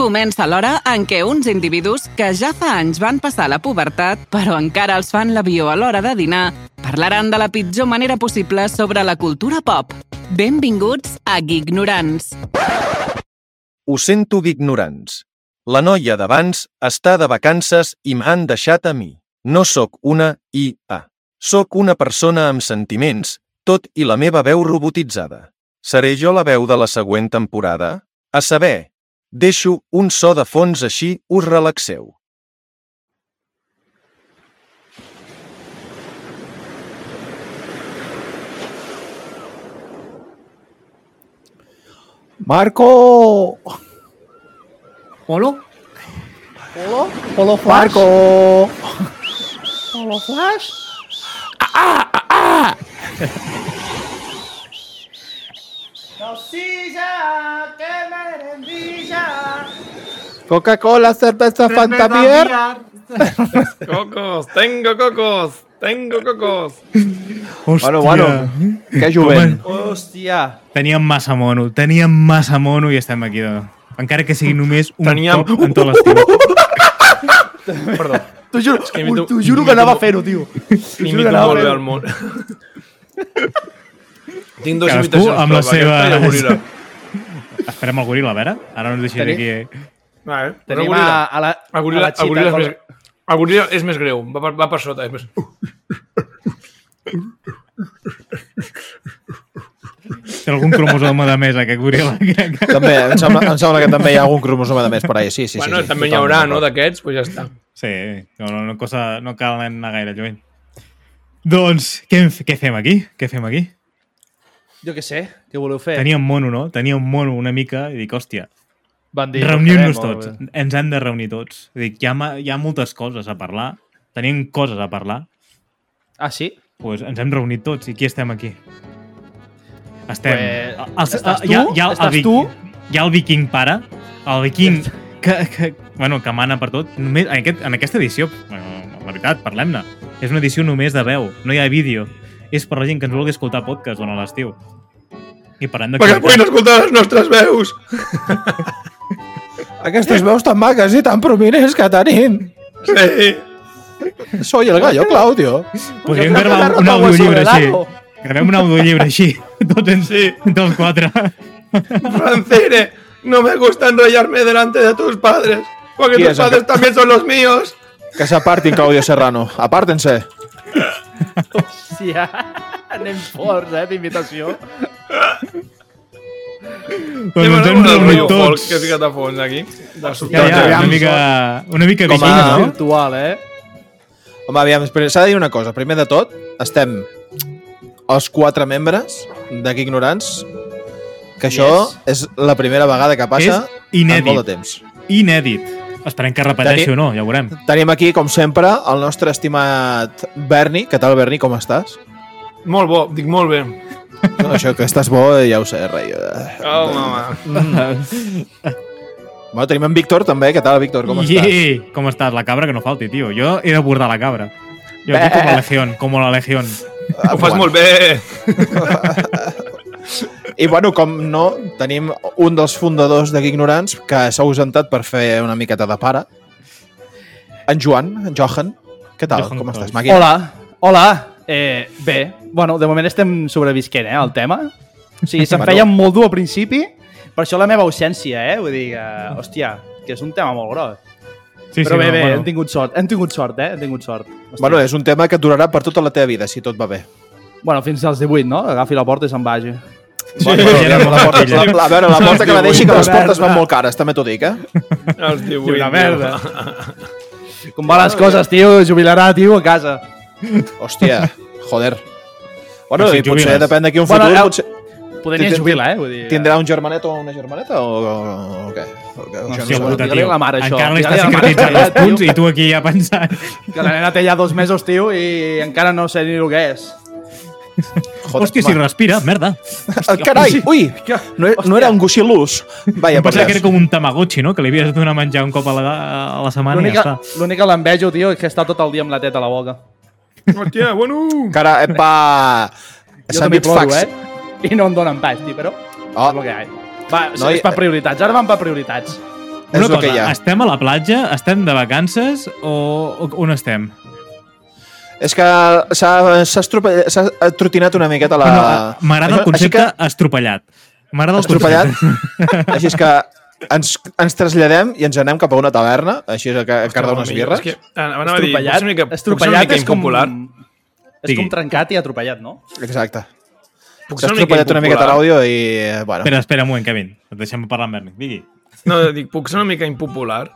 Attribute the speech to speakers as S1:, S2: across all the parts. S1: Comença l'hora en què uns individus que ja fa anys van passar la pubertat, però encara els fan l'avió a l'hora de dinar, parlaran de la pitjor manera possible sobre la cultura pop. Benvinguts a Gignorants.
S2: Ho sento, ignorants. La noia d'abans està de vacances i m'han deixat a mi. No sóc una IA. Sóc una persona amb sentiments, tot i la meva veu robotitzada. Seré jo la veu de la següent temporada? A saber, deixo un so de fons així us relaxeu.
S3: Marco!
S4: ¿Polo? ¿Polo?
S3: Polo Flash! Marco!
S4: ¿Polo Flash? ¡Salsilla! ¡Que me rendilla!
S3: Coca-Cola, cerveza, Fanta Beer.
S5: Cocos, tengo cocos, tengo cocos.
S6: Hòstia.
S3: Bueno, bueno, que jovent.
S4: ¡Hostia!
S6: Teníem massa mono, teníem massa mono i estem aquí. De... Encara que sigui només un
S5: Teníem-
S6: cop en tot l'estiu.
S5: Perdó.
S3: T'ho juro,
S5: que imito-
S3: t'ho juro
S5: imito-
S3: que anava a fer-ho, tio. T'ho juro que
S5: M'imito
S3: anava a
S5: molt bé al
S3: fer-ho.
S5: món. Tinc dos
S6: Cadascú
S5: imitacions.
S6: amb
S5: però
S6: la
S5: aquesta
S6: seva-
S5: ja morirà.
S6: Esperem el goril·la, a veure? Ara no ens deixis
S3: Tenim-
S6: aquí. eh?
S5: Vale, però
S3: Tenim
S5: el
S3: a,
S5: goril·la.
S3: a la,
S5: El
S3: a
S5: goril·la,
S3: la xita,
S5: el goril·la és
S3: com-
S5: més... El goril·la és més greu, va per, va per sota. És més...
S6: Té algun cromosoma de més, aquest goril·la. crec que-
S3: També, em sembla, em sembla que també hi ha algun cromosoma de més per ahí. Sí, sí,
S5: Sí, bueno,
S3: sí, sí,
S5: també n'hi
S3: totalment
S5: haurà, no,
S3: d'acord.
S5: d'aquests, doncs ja està.
S6: Sí, no, no, no, cosa, no cal anar gaire lluny. Doncs, què, hem- què fem aquí? Què fem aquí?
S4: Yo qué sé, ¿qué voleu fer?
S6: Teníem mono, no? Teníem mono una mica i dic, hòstia,
S4: Van dir, eh,
S6: Reunir-nos
S4: "Ho farem", o-
S6: tots. Ens hem de reunir tots. Dic, hi ha, ma- hi ha moltes coses a parlar. Tenim coses a parlar.
S4: Ah, sí?
S6: Pues ens hem reunit tots. I qui estem aquí? Estem...
S4: Pues,
S6: el-
S4: estàs
S6: hi ha-
S4: tu?
S6: hi ha el
S4: Estàs
S6: Vic-
S4: tu?
S6: Hi ha el viking pare, el viking que, que, bueno, que mana per tot. Només, en, aquest, en aquesta edició, bueno, la veritat, parlem-ne, és una edició només de veu, no hi ha vídeo. És per la gent que ens vulgui escoltar podcast durant l'estiu. I parlem de... qualitat.
S5: escoltar les nostres veus.
S3: Aquestes veus tan maques i tan prominents que tenim.
S5: Sí.
S3: Soy el gallo Claudio.
S6: Podríem
S3: Jo crec que
S6: gravar
S3: la
S6: un
S3: ropa
S6: audio llibre
S3: sobre
S6: així.
S3: l'ano.
S6: Gravem un audio llibre així. Tots, en, sí.
S5: Sí.
S6: tots quatre.
S5: Francine, no me gusta enrollarme delante de tus padres, porque
S3: Qui tus és padres aquest?
S5: también son los míos.
S3: Que s'apartin, Claudio Serrano. Apártense.
S4: Hòstia, anem forts, eh, d'invitació.
S6: Doncs ens hem reunit tots.
S5: Que he ficat a fons aquí. De
S6: Ja,
S3: Doncs
S6: ja,
S3: aviam.
S6: una mica, una mica
S3: Com a-
S6: viking,
S3: Ah.
S6: no?
S4: Virtual, eh?
S3: Home, aviam, espera, s'ha de dir una cosa. Primer de tot, estem els quatre membres d'aquí ignorants, que això és la primera vegada que
S6: És
S3: passa en molt de
S6: inèdit.
S3: temps.
S6: Inèdit. Esperem que repeteixi
S3: Teni-
S6: o no, ja ho veurem.
S3: Tenim aquí, com sempre, el nostre estimat Berni. Què tal, Berni? Com estàs?
S5: Molt bo, dic molt bé.
S3: No, això que estàs bo ja ho sé, rei.
S5: Oh, mama.
S3: Bueno, tenim en Víctor també. Què tal, Víctor? Com estàs?
S6: Iii, com estàs? La cabra que no falti, tio. Jo he de bordar la cabra. Jo aquí com a legión, com a la legión.
S3: Ah,
S5: Ho fas
S3: bueno.
S5: molt bé.
S3: I bueno, com no, tenim un dels fundadors de Ignorants que s'ha ausentat per fer una miqueta de pare. En Joan, en Johan. Què tal?
S6: Johan
S3: Com estàs,
S6: Cruyff.
S3: màquina?
S4: Hola, hola. Eh, bé, bueno, de moment estem sobrevisquent, eh, al tema. O sigui, se'm
S3: Bueno.
S4: feia molt dur al principi, per això la meva ausència, eh? Vull dir, que, hòstia, que és un tema molt gros.
S6: Sí,
S4: Però
S6: sí,
S4: bé,
S6: no,
S4: bé,
S6: bueno.
S4: hem tingut sort, hem tingut sort, eh? Hem tingut sort. Hòstia.
S3: Bueno, és un tema que et durarà per tota la teva vida, si tot va bé.
S4: bueno, fins als 18, no? Agafi la porta i se'n vagi.
S3: Bueno, però
S6: ja era
S3: la,
S6: molt
S3: porta, la, la, a veure, la porta que la deixi, que les
S4: Verda.
S3: portes van molt cares, també t'ho dic, eh?
S5: Els 18.
S4: Una merda. Com van les coses, tio, jubilarà, tio, a casa.
S3: Hòstia, joder. Bueno,
S6: Però si
S3: i potser
S6: jubiles.
S3: depèn d'aquí un
S4: Bueno,
S3: futur,
S4: el-
S3: potser
S4: Podria
S3: Tindrà-
S4: jubilar, eh? Vull dir,
S3: tindrà un germanet o una germaneta o, o, o què? O què?
S4: No
S3: Això
S4: sé,
S3: ho
S4: puta,
S3: sabem.
S4: digue-li a la mare, això.
S6: Encara l'està
S4: Digue-li a la mare.
S6: secretitzant els punts i tu aquí ja pensant...
S4: Que la nena té ja dos mesos, tio, i encara no sé ni el que és.
S3: Joder,
S6: Hòstia, si
S3: home.
S6: respira, merda.
S3: Ah, Carai, ui, no, e- no era un guixilús. Vaja,
S6: Em pensava
S3: per
S6: que era com un tamagotxi, no? Que li havies de donar a menjar un cop a la, a la setmana i ja
S4: L'única
S6: està.
S4: l'únic que l'envejo, tio, és que està tot el dia amb la teta a la boca.
S5: Hòstia, bueno.
S3: Cara, epa!
S4: Jo
S3: S'ha
S4: també
S3: vist
S4: ploro,
S3: fax.
S4: eh? I no em donen pas, tio, però...
S3: Oh,
S4: És el que hi ha. Va, no,
S3: Noi,
S4: és per
S3: eh.
S4: prioritats. Ara van per prioritats.
S3: És
S6: Una
S3: el que hi
S6: cosa,
S3: ha.
S6: estem a la platja, estem de vacances o, o on estem?
S3: És que s'ha s'ha estrope- s'ha trotinat una miqueta la...
S6: No, no, M'agrada el
S3: Això- així
S6: concepte estropellat. M'agrada el
S3: estropellat.
S6: concepte.
S3: així és que ens, ens traslladem i ens anem cap a una taverna, així és el que encarda unes birres.
S5: És que, ara anava a dir, potser és una mica, potser és una
S4: estropellat
S5: mica
S4: és com...
S5: impopular.
S4: És com
S6: Digui.
S4: trencat i atropellat, no?
S3: Exacte.
S5: Puc
S3: S'ha
S5: ser una mica
S3: estropellat una miqueta
S5: impopular.
S3: l'àudio i, eh, bueno,
S6: Espera, espera un moment, Kevin. Et deixem parlar amb Berni. Digui.
S5: No, dic, puc ser una mica impopular.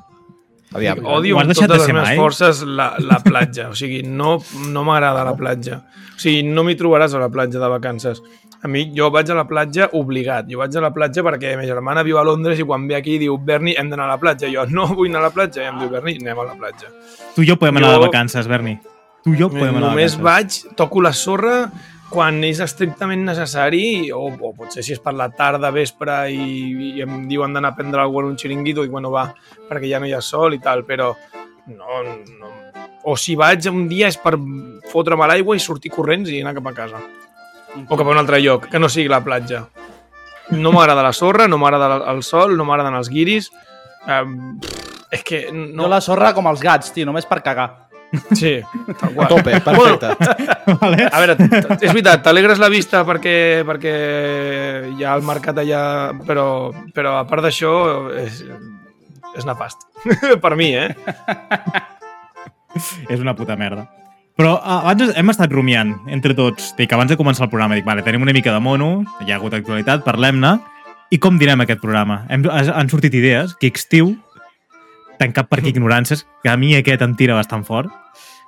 S3: aviam.
S5: Odio
S6: Ho has
S5: amb
S6: deixat
S5: totes
S6: de
S5: les
S6: ser
S5: meves
S6: mai?
S5: forces la, la platja. O sigui, no, no m'agrada la platja. O sigui, no m'hi trobaràs a la platja de vacances. A mi, jo vaig a la platja obligat. Jo vaig a la platja perquè ma germana viu a Londres i quan ve aquí diu, Berni, hem d'anar a la platja. Jo, no vull anar a la platja. I em diu, Berni, anem a la platja.
S6: Tu i jo podem anar
S5: Jo-
S6: de vacances, Berni. Tu i jo podem anar de
S5: Només
S6: vacances.
S5: vaig, toco la sorra quan és estrictament necessari o, o potser si és per la tarda, vespre i, i em diuen d'anar a prendre alguna cosa en un xiringuito i bueno, va, perquè ja no hi ha sol i tal, però no, no... O si vaig un dia és per fotre'm a l'aigua i sortir corrents i anar cap a casa. O cap a un altre lloc, que no sigui la platja. No m'agrada la sorra, no m'agrada el sol, no m'agraden els guiris. Eh, pff, és que
S4: No.
S5: no...
S4: Jo la sorra com els gats, tio, només per cagar.
S5: Sí, tal
S3: A
S5: qual.
S3: tope, perfecte.
S6: Vale?
S5: A veure, t- és veritat, t'alegres la vista perquè, perquè hi ha el mercat allà, però, però a part d'això és, és nefast. per mi, eh?
S6: És una puta merda. Però ah, abans hem estat rumiant entre tots. Dic, abans de començar el programa, dic, vale, tenim una mica de mono, hi ha hagut actualitat, parlem-ne. I com direm aquest programa? Hem, has- han sortit idees, Kickstiu, tancat per ignorances, que a mi aquest em tira bastant fort,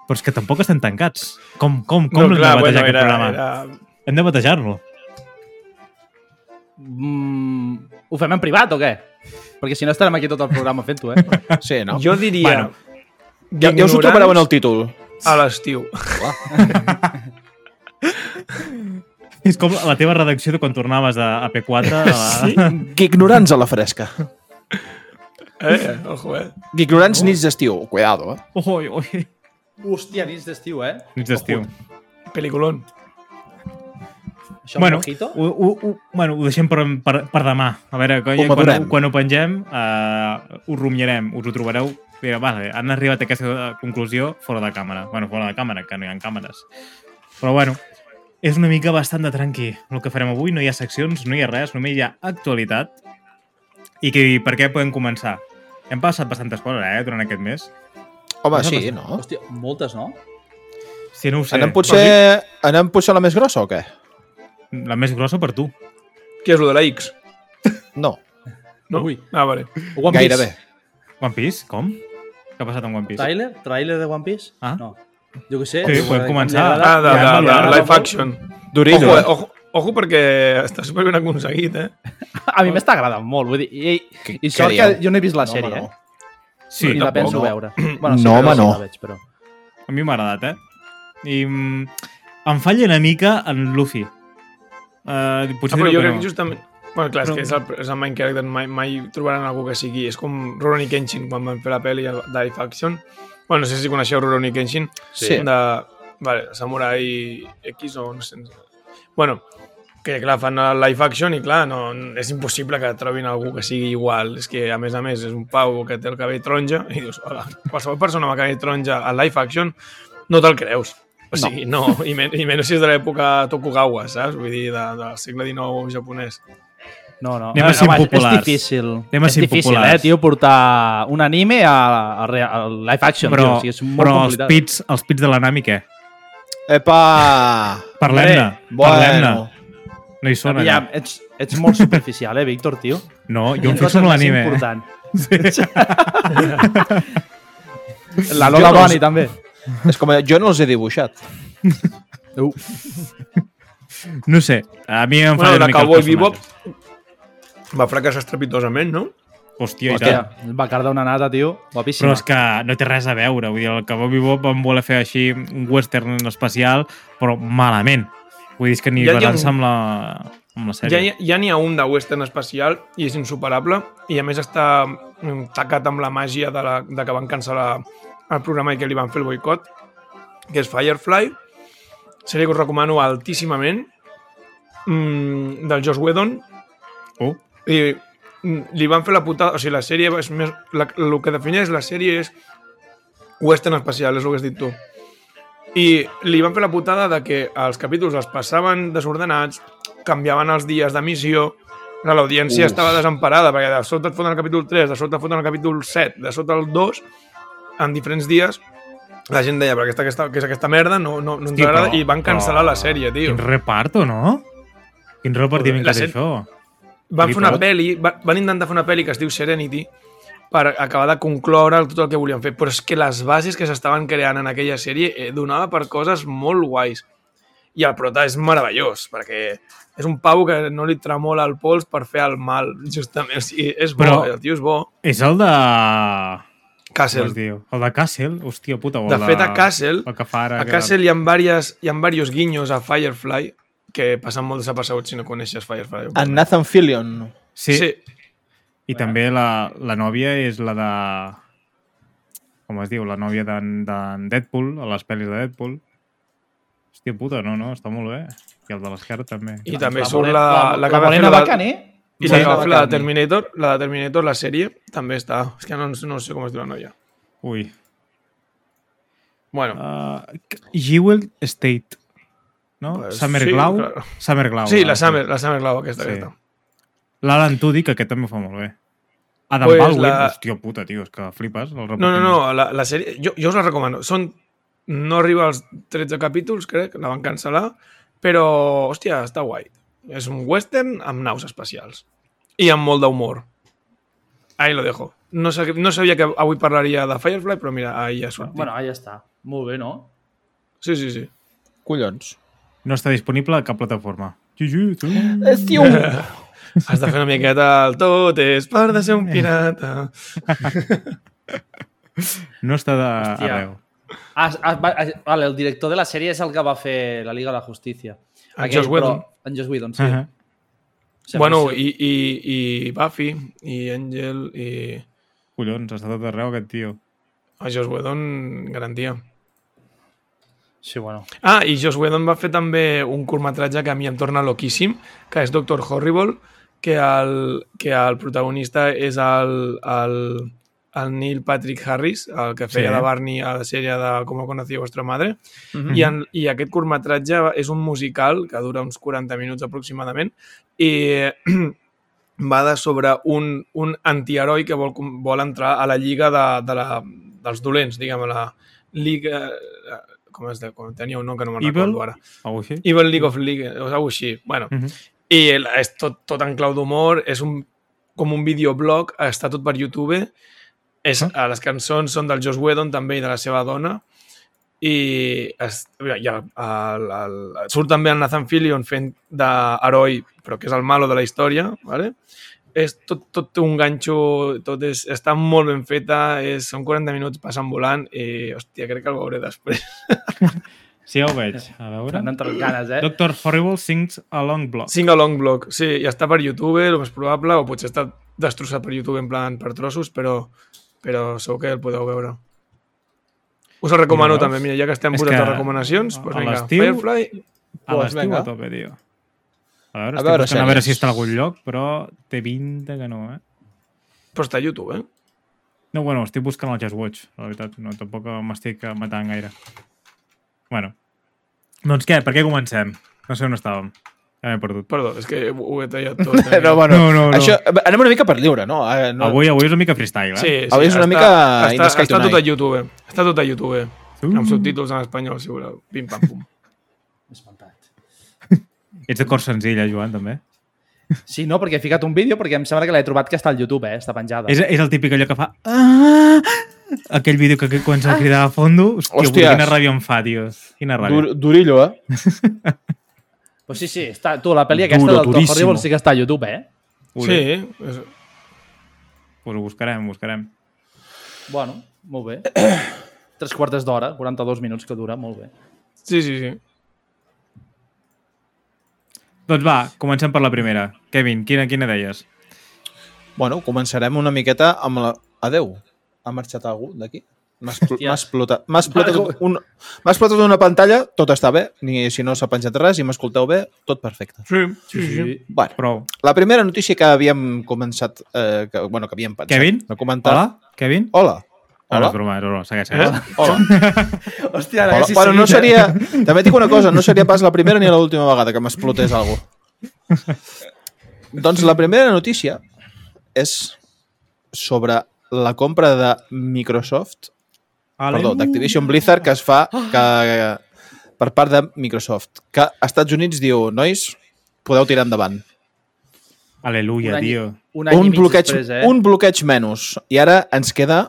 S6: però és que tampoc estem tancats. Com, com, com l'hem de batejar aquest programa? Hem de batejar-lo.
S4: Mm, ho fem en privat o què? Perquè si no estarem aquí tot el programa fent-ho, eh?
S3: Sí, no?
S5: Jo diria...
S6: Bueno,
S3: Ja, ja us ho
S5: ignorants
S3: trobareu en el títol.
S5: A l'estiu.
S6: És com la teva redacció de quan tornaves a, a P4. A la...
S3: Ignorants a la fresca.
S5: Eh? Ojo, eh?
S3: Ignorants nits d'estiu. Cuidado, eh?
S6: Oi, oi.
S4: Hòstia, nits d'estiu, eh?
S6: Nits d'estiu.
S5: Peliculón.
S4: Això bueno,
S6: bueno,
S4: mojito?
S6: ho, ho, ho, bueno, ho deixem per, per, per demà. A veure, quan,
S3: Ho
S6: quan,
S3: madurem.
S6: quan ho pengem, uh, ho rumiarem, us ho trobareu. Mira, vale, han arribat a aquesta eh, conclusió fora de càmera. Bueno, fora de càmera, que no hi ha càmeres. Però bueno, és una mica bastant de tranqui el que farem avui. No hi ha seccions, no hi ha res, només hi ha actualitat. I que, per què podem començar? Hem passat bastantes coses, eh, durant aquest mes.
S3: Home,
S6: Això
S3: sí,
S6: passa.
S3: no?
S4: Hòstia, moltes, no?
S6: Si no ho sé.
S3: Anem potser, Eh, anem potser a la més grossa o què?
S6: La més grossa per tu.
S5: Què és lo de la X?
S3: No,
S5: No?
S4: Ui.
S5: Ah, vale.
S4: One Piece.
S3: gairebé.
S6: One Piece? Com? Què ha passat amb One Piece?
S4: Trailer? Trailer de One Piece?
S6: Ah.
S4: No. Jo què sé.
S6: Sí,
S4: eh,
S6: podem començar.
S4: m'agrada-
S5: Ah, de, de, de,
S4: m'agrada
S5: live
S4: molt.
S5: action.
S3: Durino.
S5: Ojo, eh?
S3: eh?
S5: ojo, ojo perquè està superben aconseguit, eh?
S4: A mi m'està agradant molt, vull dir, i,
S3: Què-
S4: i
S3: què
S4: sort
S3: dieu?
S4: que jo no he vist la
S3: No,
S4: sèrie,
S3: home, no.
S4: eh?
S6: Sí,
S4: I la penso
S3: no.
S4: veure.
S3: No,
S4: però
S3: home,
S4: sí
S3: no.
S4: La veig, però...
S6: A mi m'ha agradat, eh? I mm, em falla una mica en Luffy. Uh,
S5: Ah,
S6: potser
S5: però jo
S6: direu que
S5: crec
S6: no.
S5: que justament... Bueno, clar, és
S6: Però-
S5: que és el, és el main character, mai, mai trobaran algú que sigui... És com Rurouni Kenshin, quan van fer la pel·li de Life Action. Bueno, no sé si coneixeu Rurouni Kenshin.
S3: Sí.
S5: De, vale, Samurai X o no sé... Bueno, que clar, fan el live action i clar, no, és impossible que trobin algú que sigui igual. És que, a més a més, és un pau que té el cabell taronja i dius, hola, qualsevol persona amb el cabell taronja a live action no te'l creus. O sigui, no, i, men i menys si és de l'època Tokugawa, saps? Vull dir, de, del segle XIX japonès.
S4: No, no.
S6: Anem a
S4: Eh,
S6: ser
S4: home, és-
S6: impopulars.
S4: És difícil.
S6: Anem a
S4: és
S6: ser
S4: difícil,
S6: impopulars.
S4: eh, tio, portar un anime a, a, re- a live action, tio.
S6: Però,
S4: O sigui, és molt
S6: però els,
S4: complicat.
S6: pits, els pits de l'anami, què?
S3: Epa!
S6: Parlem-ne. Parlem-ne.
S3: Bueno,
S6: No hi són, allà.
S4: Aviam, ets, ets molt superficial, eh, Víctor, tio.
S6: No, jo em
S4: Hi ha
S6: fixo
S4: coses
S6: en
S4: més
S6: l'anime. eh?
S4: Important. Sí. La Lola
S3: Jo no
S4: Bunny,
S3: els-
S4: també.
S3: és com jo no els he dibuixat.
S4: Uh,
S6: No sé, a mi
S5: Bueno,
S6: em falla una
S5: de
S6: mica
S5: Cowboy
S6: els personatges.
S5: Bebop va fracassar estrepitosament, no?
S6: Hòstia, i
S4: hòstia,
S6: tant.
S4: va cardar una nata, tio. Guapíssima.
S6: Però és que no té res a veure. Vull dir, el Cowboy Bebop van voler fer així un western especial, però malament. Vull dir, és que ni
S5: Ja hi ha
S6: basant-se
S5: un-
S6: amb la, amb la
S5: Ja
S6: sèrie.
S5: n'hi ja n'hi ha un de western especial i és insuperable i a més està mm, tacat amb la màgia de, la, de que van cancel·lar el programa i que li van fer el boicot que és Firefly sèrie que us recomano altíssimament mm, del Josh Whedon
S6: Oh.
S5: i mm, li van fer la putada... O sigui, la sèrie és més... La, el que defineix la sèrie és western espacial, és el que has dit tu. I li van fer la putada de que els capítols els passaven desordenats, canviaven els dies de missió, o sigui, l'audiència
S3: Uf.
S5: estava desemparada, perquè de sobte et foten el capítol 3, de sobte et foten el capítol 7, de sobte el 2, en diferents dies, la gent deia, però aquesta, aquesta, què és aquesta merda? No, no, no ens
S6: Hosti,
S5: agrada,
S6: però-
S5: i van cancel·lar
S6: però-
S5: la sèrie, tio.
S6: Quin reparto, no? Quin repartiment que
S5: La
S6: té
S5: set-
S6: això?
S5: Van fer una
S6: Flipado.
S5: pel·li, va- van intentar fer una pel·li que es diu Serenity per acabar de concloure tot el que volien fer, però és que les bases que s'estaven creant en aquella sèrie eh, donava per coses molt guais. I el prota és meravellós, perquè és un pavo que no li tremola el pols per fer el mal, justament. O sigui, és bo,
S6: Però-
S5: el tio és bo.
S6: És el de... Com
S5: Castle.
S6: es diu? El de Castle? Hòstia puta. o
S5: De
S6: el
S5: fet, a Castle-
S6: El que fa ara,
S5: A
S6: que-
S5: Castle hi ha, diverses, hi ha diversos guinyos a Firefly que passen molt desapercebuts si no coneixes Firefly.
S3: En Nathan Fillion.
S6: Sí, sí.
S5: sí.
S6: I també la, la nòvia és la de... Com es diu? La nòvia d'en d'en Deadpool, a les pel·lis de Deadpool. Hòstia puta, no, no, està molt bé. I el de l'esquerra també.
S5: I també
S4: La
S5: surt
S4: Morena-
S5: la, la,
S4: la
S5: que va fer
S4: Morena
S5: la-
S4: Bacane, eh?
S5: I la,
S4: Morena
S5: la, la de
S4: Bacane.
S5: Terminator, la de Terminator, la sèrie, també està. És que no, no sé com es diu la noia.
S6: Ui.
S5: Bueno,
S6: Uh, Jewel State. No?
S5: Pues
S6: Pues, Summer
S5: sí,
S6: Glau?
S5: claro.
S6: Summer Glau.
S5: sí,
S6: no?
S5: la Summer, la Summer Glau, aquesta.
S6: Ah, Sí.
S5: aquesta.
S6: L'Alan Tudyk, que aquest també ho fa molt bé. Adam
S5: Pues
S6: pues Baldwin,
S5: la-
S6: la... hòstia puta, tio, és que flipes. El
S5: No, no, no, la, la sèrie... Jo, jo us la recomano. Són... No arriba als 13 capítols, crec, la van cancel·lar, però, hòstia, està guai. És un western amb naus espacials. I amb molt d'humor. Ahí lo dejo. No, sa- no sabia que avui parlaria de Firefly, però mira, ahí ja ha sortit.
S4: Bueno, ja està. Molt bé, no?
S5: Sí, sí, sí.
S3: Collons.
S6: no està disponible a cap plataforma. Juju, tu.
S3: Estiu!
S5: Has de fer una miqueta el tot és part de ser un pirata.
S6: No està de...
S4: Hòstia.
S6: arreu.
S4: Has, has, va- has, vale, el director de la sèrie és el que va fer la Liga de la Justícia.
S5: En Joss Whedon. Uh-huh.
S4: Però, en Joss Whedon, sí.
S6: Uh -huh.
S4: Sembla
S5: bueno,
S4: ser.
S5: i, i, i Buffy, i Angel, i...
S6: Collons, està tot arreu aquest tio.
S5: A Joss Whedon, garantia.
S4: Sí, bueno.
S5: Ah, i Joss Whedon va fer també un curtmetratge que a mi em torna loquíssim, que és Doctor Horrible, que el, que el protagonista és el, el, el Neil Patrick Harris, el que feia
S6: Sí.
S5: sí. de Barney a la sèrie de Como conocí a vuestra madre, i, en, i aquest curtmetratge és un musical que dura uns 40 minuts aproximadament, i va de sobre un, un antiheroi que vol, com- vol entrar a la lliga de, de la, dels dolents, diguem, a la lliga... eh, Com es de, com tenia un nom que no me'n
S6: Evil?
S5: recordo ara.
S6: Algú així?
S5: Evil League of League, o alguna així. Bueno,
S6: Mhm.
S5: i el- és tot, tot en clau d'humor, és un, com un videoblog, està tot per YouTube, és, ah. les cançons són del Josh Whedon també i de la seva dona, i, es, i el, el, el, surt també el Nathan Fillion fent d'heroi, però que és el malo de la història, vale? és tot, tot té un ganxo, tot és, està molt ben feta, és, són 40 minuts passant volant i, hòstia, crec que el veuré després.
S6: Sí, ja ho veig. A veure.
S4: No entren ganes, eh?
S6: Doctor Horrible sings a long block.
S5: Sing Along Block, sí, i està per YouTube, el més probable, o potser està destrossat per YouTube en plan per trossos, però, però segur que el podeu veure. Us el recomano
S6: Mira,
S5: també, mira, ja que estem
S6: és
S5: posant
S6: que
S5: les recomanacions,
S6: a-
S5: doncs
S6: a
S5: vinga,
S6: l'estiu-
S5: Firefly,
S6: a
S3: Pues
S6: Ah, l'estiu
S3: vinga.
S6: a tope, tio. A veure, a
S3: A veure
S6: veure, buscant, a veure
S3: sèries.
S6: si està a algun lloc, però té pinta que no, eh?
S5: però està a YouTube, eh?
S6: No, bueno, estic buscant el Just Watch, la veritat. No, tampoc m'estic eh, matant gaire. Bueno. Doncs què? Per què comencem? No sé on estàvem. Ja m'he perdut.
S5: Perdó, és que ho ho he tallat tot. eh?
S3: No, bueno,
S6: No, no, no.
S3: Això, anem una mica per lliure, no? Ara no
S6: Avui, avui és una mica freestyle, eh?
S5: sí, sí,
S3: Avui és una
S5: està-
S3: mica In the
S5: Està,
S3: Sky
S5: està tot a
S3: Tonight.
S5: YouTube, està tot a YouTube,
S6: Uh.
S5: amb subtítols en espanyol, si voleu. Pim, pam, pum.
S4: Espantat.
S6: Ets de cor senzilla, Joan, també.
S4: Sí, no, perquè he ficat un vídeo perquè em sembla que l'he trobat que està al YouTube, eh? Està penjada.
S6: És, és el típic allò que fa... "Ah!" Aquell vídeo que, que quan se'l cridava a fondo... Hòstia,
S3: Hòsties.
S6: Hòstia. quina ràbia em fa, tio. Quina ràbia.
S3: Dur, durillo, eh?
S4: Pues sí, sí, està, tu, la pel·li aquesta
S3: Duro,
S4: del Doctor
S3: duríssimo.
S4: Horrible sí que està a YouTube, eh?
S6: Ui,
S5: Sí, és,
S6: Pues ho buscarem, ho buscarem.
S4: Bueno, molt bé. Tres quartes d'hora, 42 minuts que dura, molt bé.
S5: sí, sí, sí.
S6: Doncs va, comencem per la primera. Kevin, quina, quina deies?
S3: Bueno, començarem una miqueta amb la... Adeu. Ha marxat algú d'aquí? M'ha expl- m'ha explotat. M'ha explotat, un, m'ha explotat una pantalla, tot està bé, ni si no s'ha penjat res, i m'escolteu bé, tot perfecte.
S5: Sí, sí, sí. sí.
S3: Bueno,
S6: Prou.
S3: la primera notícia que havíem començat, eh, que, bueno, que havíem pensat
S6: Kevin?
S3: de comentar...
S6: Hola, Kevin?
S3: Hola.
S6: No, no,
S3: Hola. Eh?
S6: és broma, és broma, segueix, segueix.
S3: Hola.
S4: Hòstia,
S3: Hola. Bueno, no seria... També et dic una cosa, no seria pas la primera ni l'última vegada que m'explotés alguna Doncs la primera notícia és sobre la compra de Microsoft, perdó, d'Activision Blizzard, que es fa
S4: Ah.
S3: que, per part de Microsoft, que als Estats Units diu, nois, podeu tirar endavant.
S6: Aleluia,
S4: Un any-
S6: tio.
S4: Un,
S3: Un,
S4: any i
S3: un,
S4: mig
S3: bloqueig,
S4: després, eh?
S3: un bloqueig menys. I ara ens queda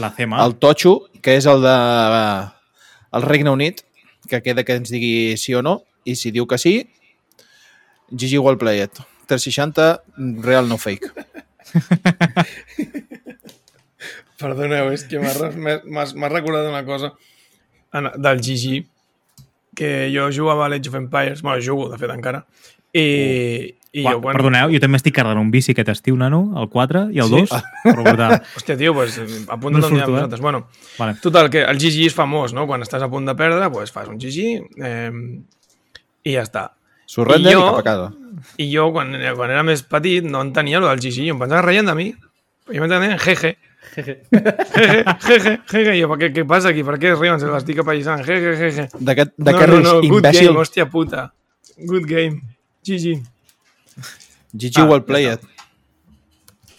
S6: La Cema.
S5: Ah.
S3: el totxo, que és el de eh, el Regne Unit, que queda que ens digui sí o no, i si diu que sí, GG well played. 360, real no fake.
S5: Perdoneu, és que m'has re- m'has m'has recordat una cosa en- del GG, que jo jugava a Age of Empires, bueno, jugo, de fet, encara, i, i
S6: Ua,
S5: jo, bueno,
S6: Perdoneu, jo també estic carregant un bici aquest estiu, nano, el 4 i el
S5: Sí?
S6: 2. Però brutal.
S5: hòstia, tio, pues, a punt
S6: No
S5: de dominar
S6: surto, eh?
S5: vosaltres. Bueno,
S6: Vale.
S5: total, que el GG és famós, no? Quan estàs a punt de perdre, pues, fas un GG eh, i ja està.
S3: Surrender
S5: I
S3: i,
S5: jo-
S3: cap a casa.
S5: I jo, quan, quan era més petit, no entenia el del GG, jo em pensava reient de mi. Jo m'entenia en jeje. Jeje, jeje, jeje. Jo, què, què passa aquí? Per què es riuen? Se l'estic apallissant. Jeje, jeje.
S3: De què, de què rius,
S5: good
S3: imbècil?
S5: game, hòstia puta. Good game. GG.
S3: GG
S5: Ah,
S3: well played.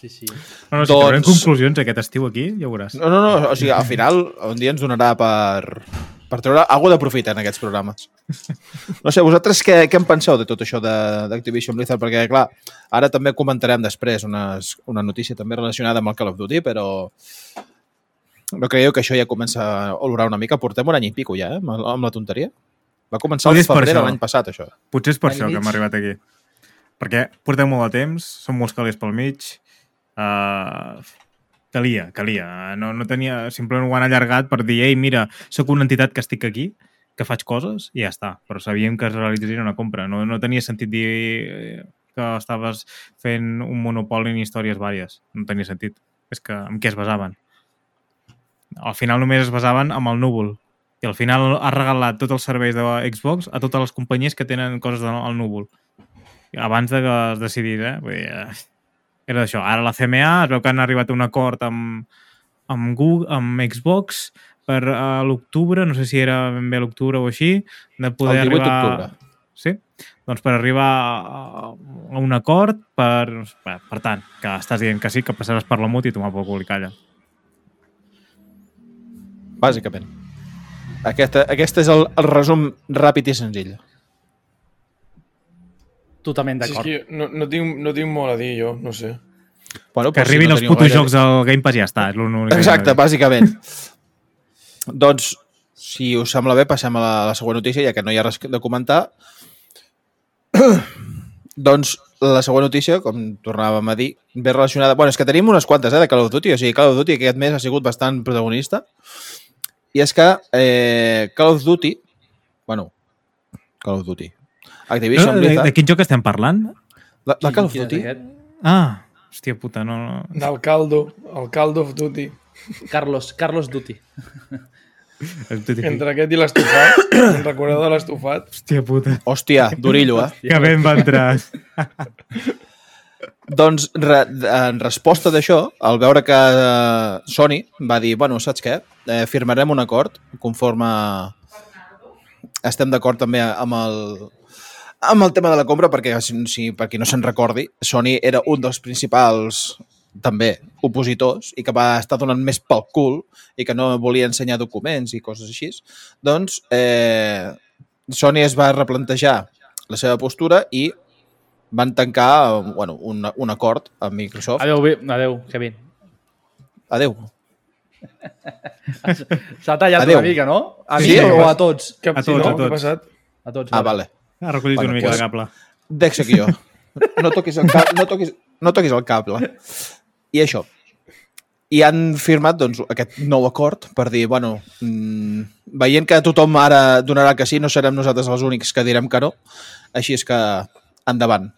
S4: Sí, sí.
S6: No, no, si
S3: Doncs-
S6: doncs... conclusions aquest estiu aquí, ja ho veuràs.
S3: No, no, no, o sigui, al final un dia ens donarà per, per treure alguna de profit en aquests programes. No sé, vosaltres què, què en penseu de tot això de- d'Activision Blizzard? Perquè, clar, ara també comentarem després unes, una notícia també relacionada amb el Call of Duty, però no creieu que això ja comença a olorar una mica? Portem un any i pico ja, eh, amb, el- amb la tonteria. Va començar
S6: Ho
S3: el
S6: dius per
S3: febrer de
S6: això.
S3: l'any passat, això.
S6: Potser és per
S4: Any
S6: això
S4: mig.
S6: que hem arribat aquí. Perquè portem molt de temps, són molts calés pel mig. Uh, calia, calia. No, no tenia... Simplement ho han allargat per dir, ei, mira, sóc una entitat que estic aquí, que faig coses, i ja està. Però sabíem que es realitzaria una compra. No, no tenia sentit dir eh, que estaves fent un monopoli en històries vàries. No tenia sentit. És que en què es basaven? Al final només es basaven amb el núvol. I al final ha regalat tots els serveis de Xbox a totes les companyies que tenen coses de- al núvol. Abans de que es decidís, eh? Vull dir, eh, era això. Ara la CMA es veu que han arribat a un acord amb, amb, Google, amb Xbox per a l'octubre, no sé si era ben bé a l'octubre o així, de poder
S3: El 18
S6: arribar...
S3: d'octubre.
S6: Sí? Doncs per arribar a a un acord per... Per, per tant, que estàs dient que sí, que passaràs per la mut i tomar poc i calla.
S3: Bàsicament. Aquesta, aquesta és el, el resum ràpid i senzill.
S4: Totalment
S5: Si és
S4: d'acord.
S5: que no, no, tinc, no tinc molt a dir, jo, no sé.
S3: Bueno,
S6: Que
S3: però si
S6: arribin
S3: no
S6: els
S3: teniu
S6: putos
S3: gaire-
S6: jocs al Game Pass i ja està. És l'únic que
S3: Exacte,
S6: tinc a dir.
S3: bàsicament. doncs, si us sembla bé, passem a la, a la següent notícia, ja que no hi ha res de comentar. doncs, la següent notícia, com tornàvem a dir, ve relacionada... bueno, és que tenim unes quantes, eh, de Call of Duty. O sigui, Call of Duty aquest mes ha sigut bastant protagonista. I és que eh, Call of Duty... Bueno, Call of Duty.
S6: No,
S3: Activision
S6: de, de
S3: Blizzard...
S6: quin joc estem parlant?
S3: La, la Call of
S4: Quin és
S3: Duty?
S4: aquest?
S6: Ah, hòstia puta, no... no.
S5: Del caldo, el caldo of duty.
S4: Carlos, Carlos Duty.
S5: Entre aquest i l'estofat, em recordeu de l'estofat?
S6: Hòstia puta.
S3: Hòstia, durillo, eh?
S6: Que ben va entrar.
S3: Doncs re, en resposta d'això, al veure que eh, Sony va dir, bueno, saps què? Eh, firmarem un acord conforme estem d'acord també amb el, amb el tema de la compra, perquè si, si, per qui no se'n recordi, Sony era un dels principals també opositors i que va estar donant més pel cul i que no volia ensenyar documents i coses així, doncs eh, Sony es va replantejar la seva postura i van tancar eh, bueno, un, un acord amb Microsoft.
S4: Adeu, vi- adeu, Kevin.
S3: Adeu.
S4: S'ha tallat
S3: Adeu.
S4: una mica, no? A
S3: Sí,
S4: mi
S3: sí.
S4: o a tots?
S5: Cap,
S6: A
S5: si
S6: tots,
S5: no,
S6: a
S5: què ha
S6: tots.
S5: passat?
S4: A tots.
S3: Ah,
S4: vale.
S3: vale.
S6: Ha recollit
S3: Bueno,
S6: una mica
S3: pues-
S6: de cable.
S3: Dex aquí jo. No toquis el, cap, no toquis, no toquis el cable. I això. I han firmat doncs, aquest nou acord per dir, bueno, mmm, veient que tothom ara donarà que sí, no serem nosaltres els únics que direm que no, així és que endavant.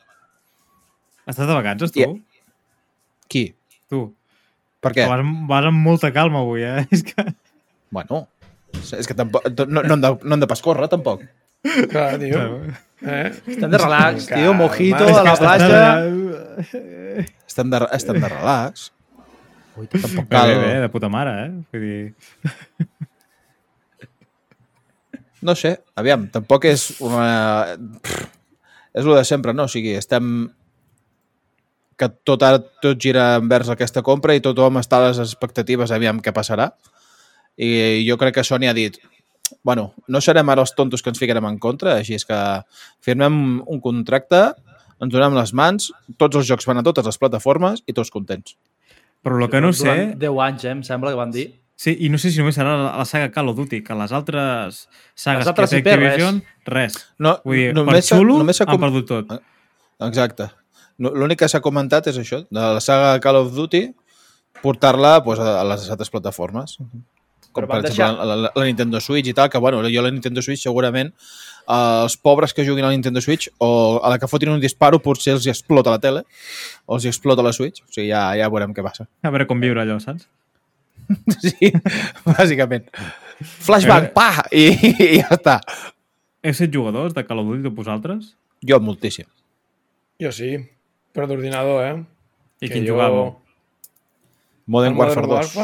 S6: Estàs de vacances, tu?
S3: Ja. Qui?
S6: Tu.
S3: Per què?
S6: Que Vas, vas amb molta calma avui, eh? És que...
S3: Bueno, és que tampoc, no, no, hem de, no hem de pas córrer, tampoc.
S5: Clar, tio. Eh?
S4: Estem de relax, tio,
S3: tota
S4: mojito,
S5: Calma.
S4: a la platja...
S3: Estem de, estem de relax. Tampoc
S6: Bé,
S3: cal...
S6: bé, bé, de puta mare, eh? Vull dir...
S3: No sé, aviam, tampoc és una... Pff, és el de sempre, no? O sigui, estem que tot ara tot gira envers aquesta compra i tothom està a les expectatives, aviam què passarà. I jo crec que Sony ha dit bueno, no serem ara els tontos que ens ficarem en contra, així és que firmem un contracte, ens donem les mans, tots els jocs van a totes les plataformes i tots contents.
S6: Però el que no sé...
S4: Durant 10 anys, eh, em sembla que van dir.
S6: Sí, i no sé si només serà la, la saga Call of Duty, que les altres sagues
S4: Les altres
S6: que
S4: IP,
S6: té Activision, res.
S3: No,
S6: Vull dir,
S3: només
S6: per
S3: s'ha-
S6: xulo ah,
S3: només s'ha
S6: han
S3: com-
S6: perdut tot.
S3: Exacte. No, L'únic que s'ha comentat és això, de la saga Call of Duty, portar-la pues, a a les altres plataformes. Com
S4: Però van
S3: per exemple
S4: deixar-
S3: la, la, la Nintendo Switch i tal, que bueno, jo la Nintendo Switch segurament eh, els pobres que juguin a la Nintendo Switch o a la que fotin un disparo potser els hi explota la tele o els hi explota la Switch. O sigui, ja, ja veurem què passa.
S6: A veure com viure allò, saps?
S3: Sí, bàsicament.
S4: Eh,
S3: Flashbang, pa! I, i ja està.
S6: Heu set jugadors de Call of Duty de vosaltres?
S3: Jo moltíssim.
S5: Jo sí, però d'ordinador, eh?
S6: I
S5: Que
S6: quin jugàveu?
S5: el
S3: Modern Warfare 2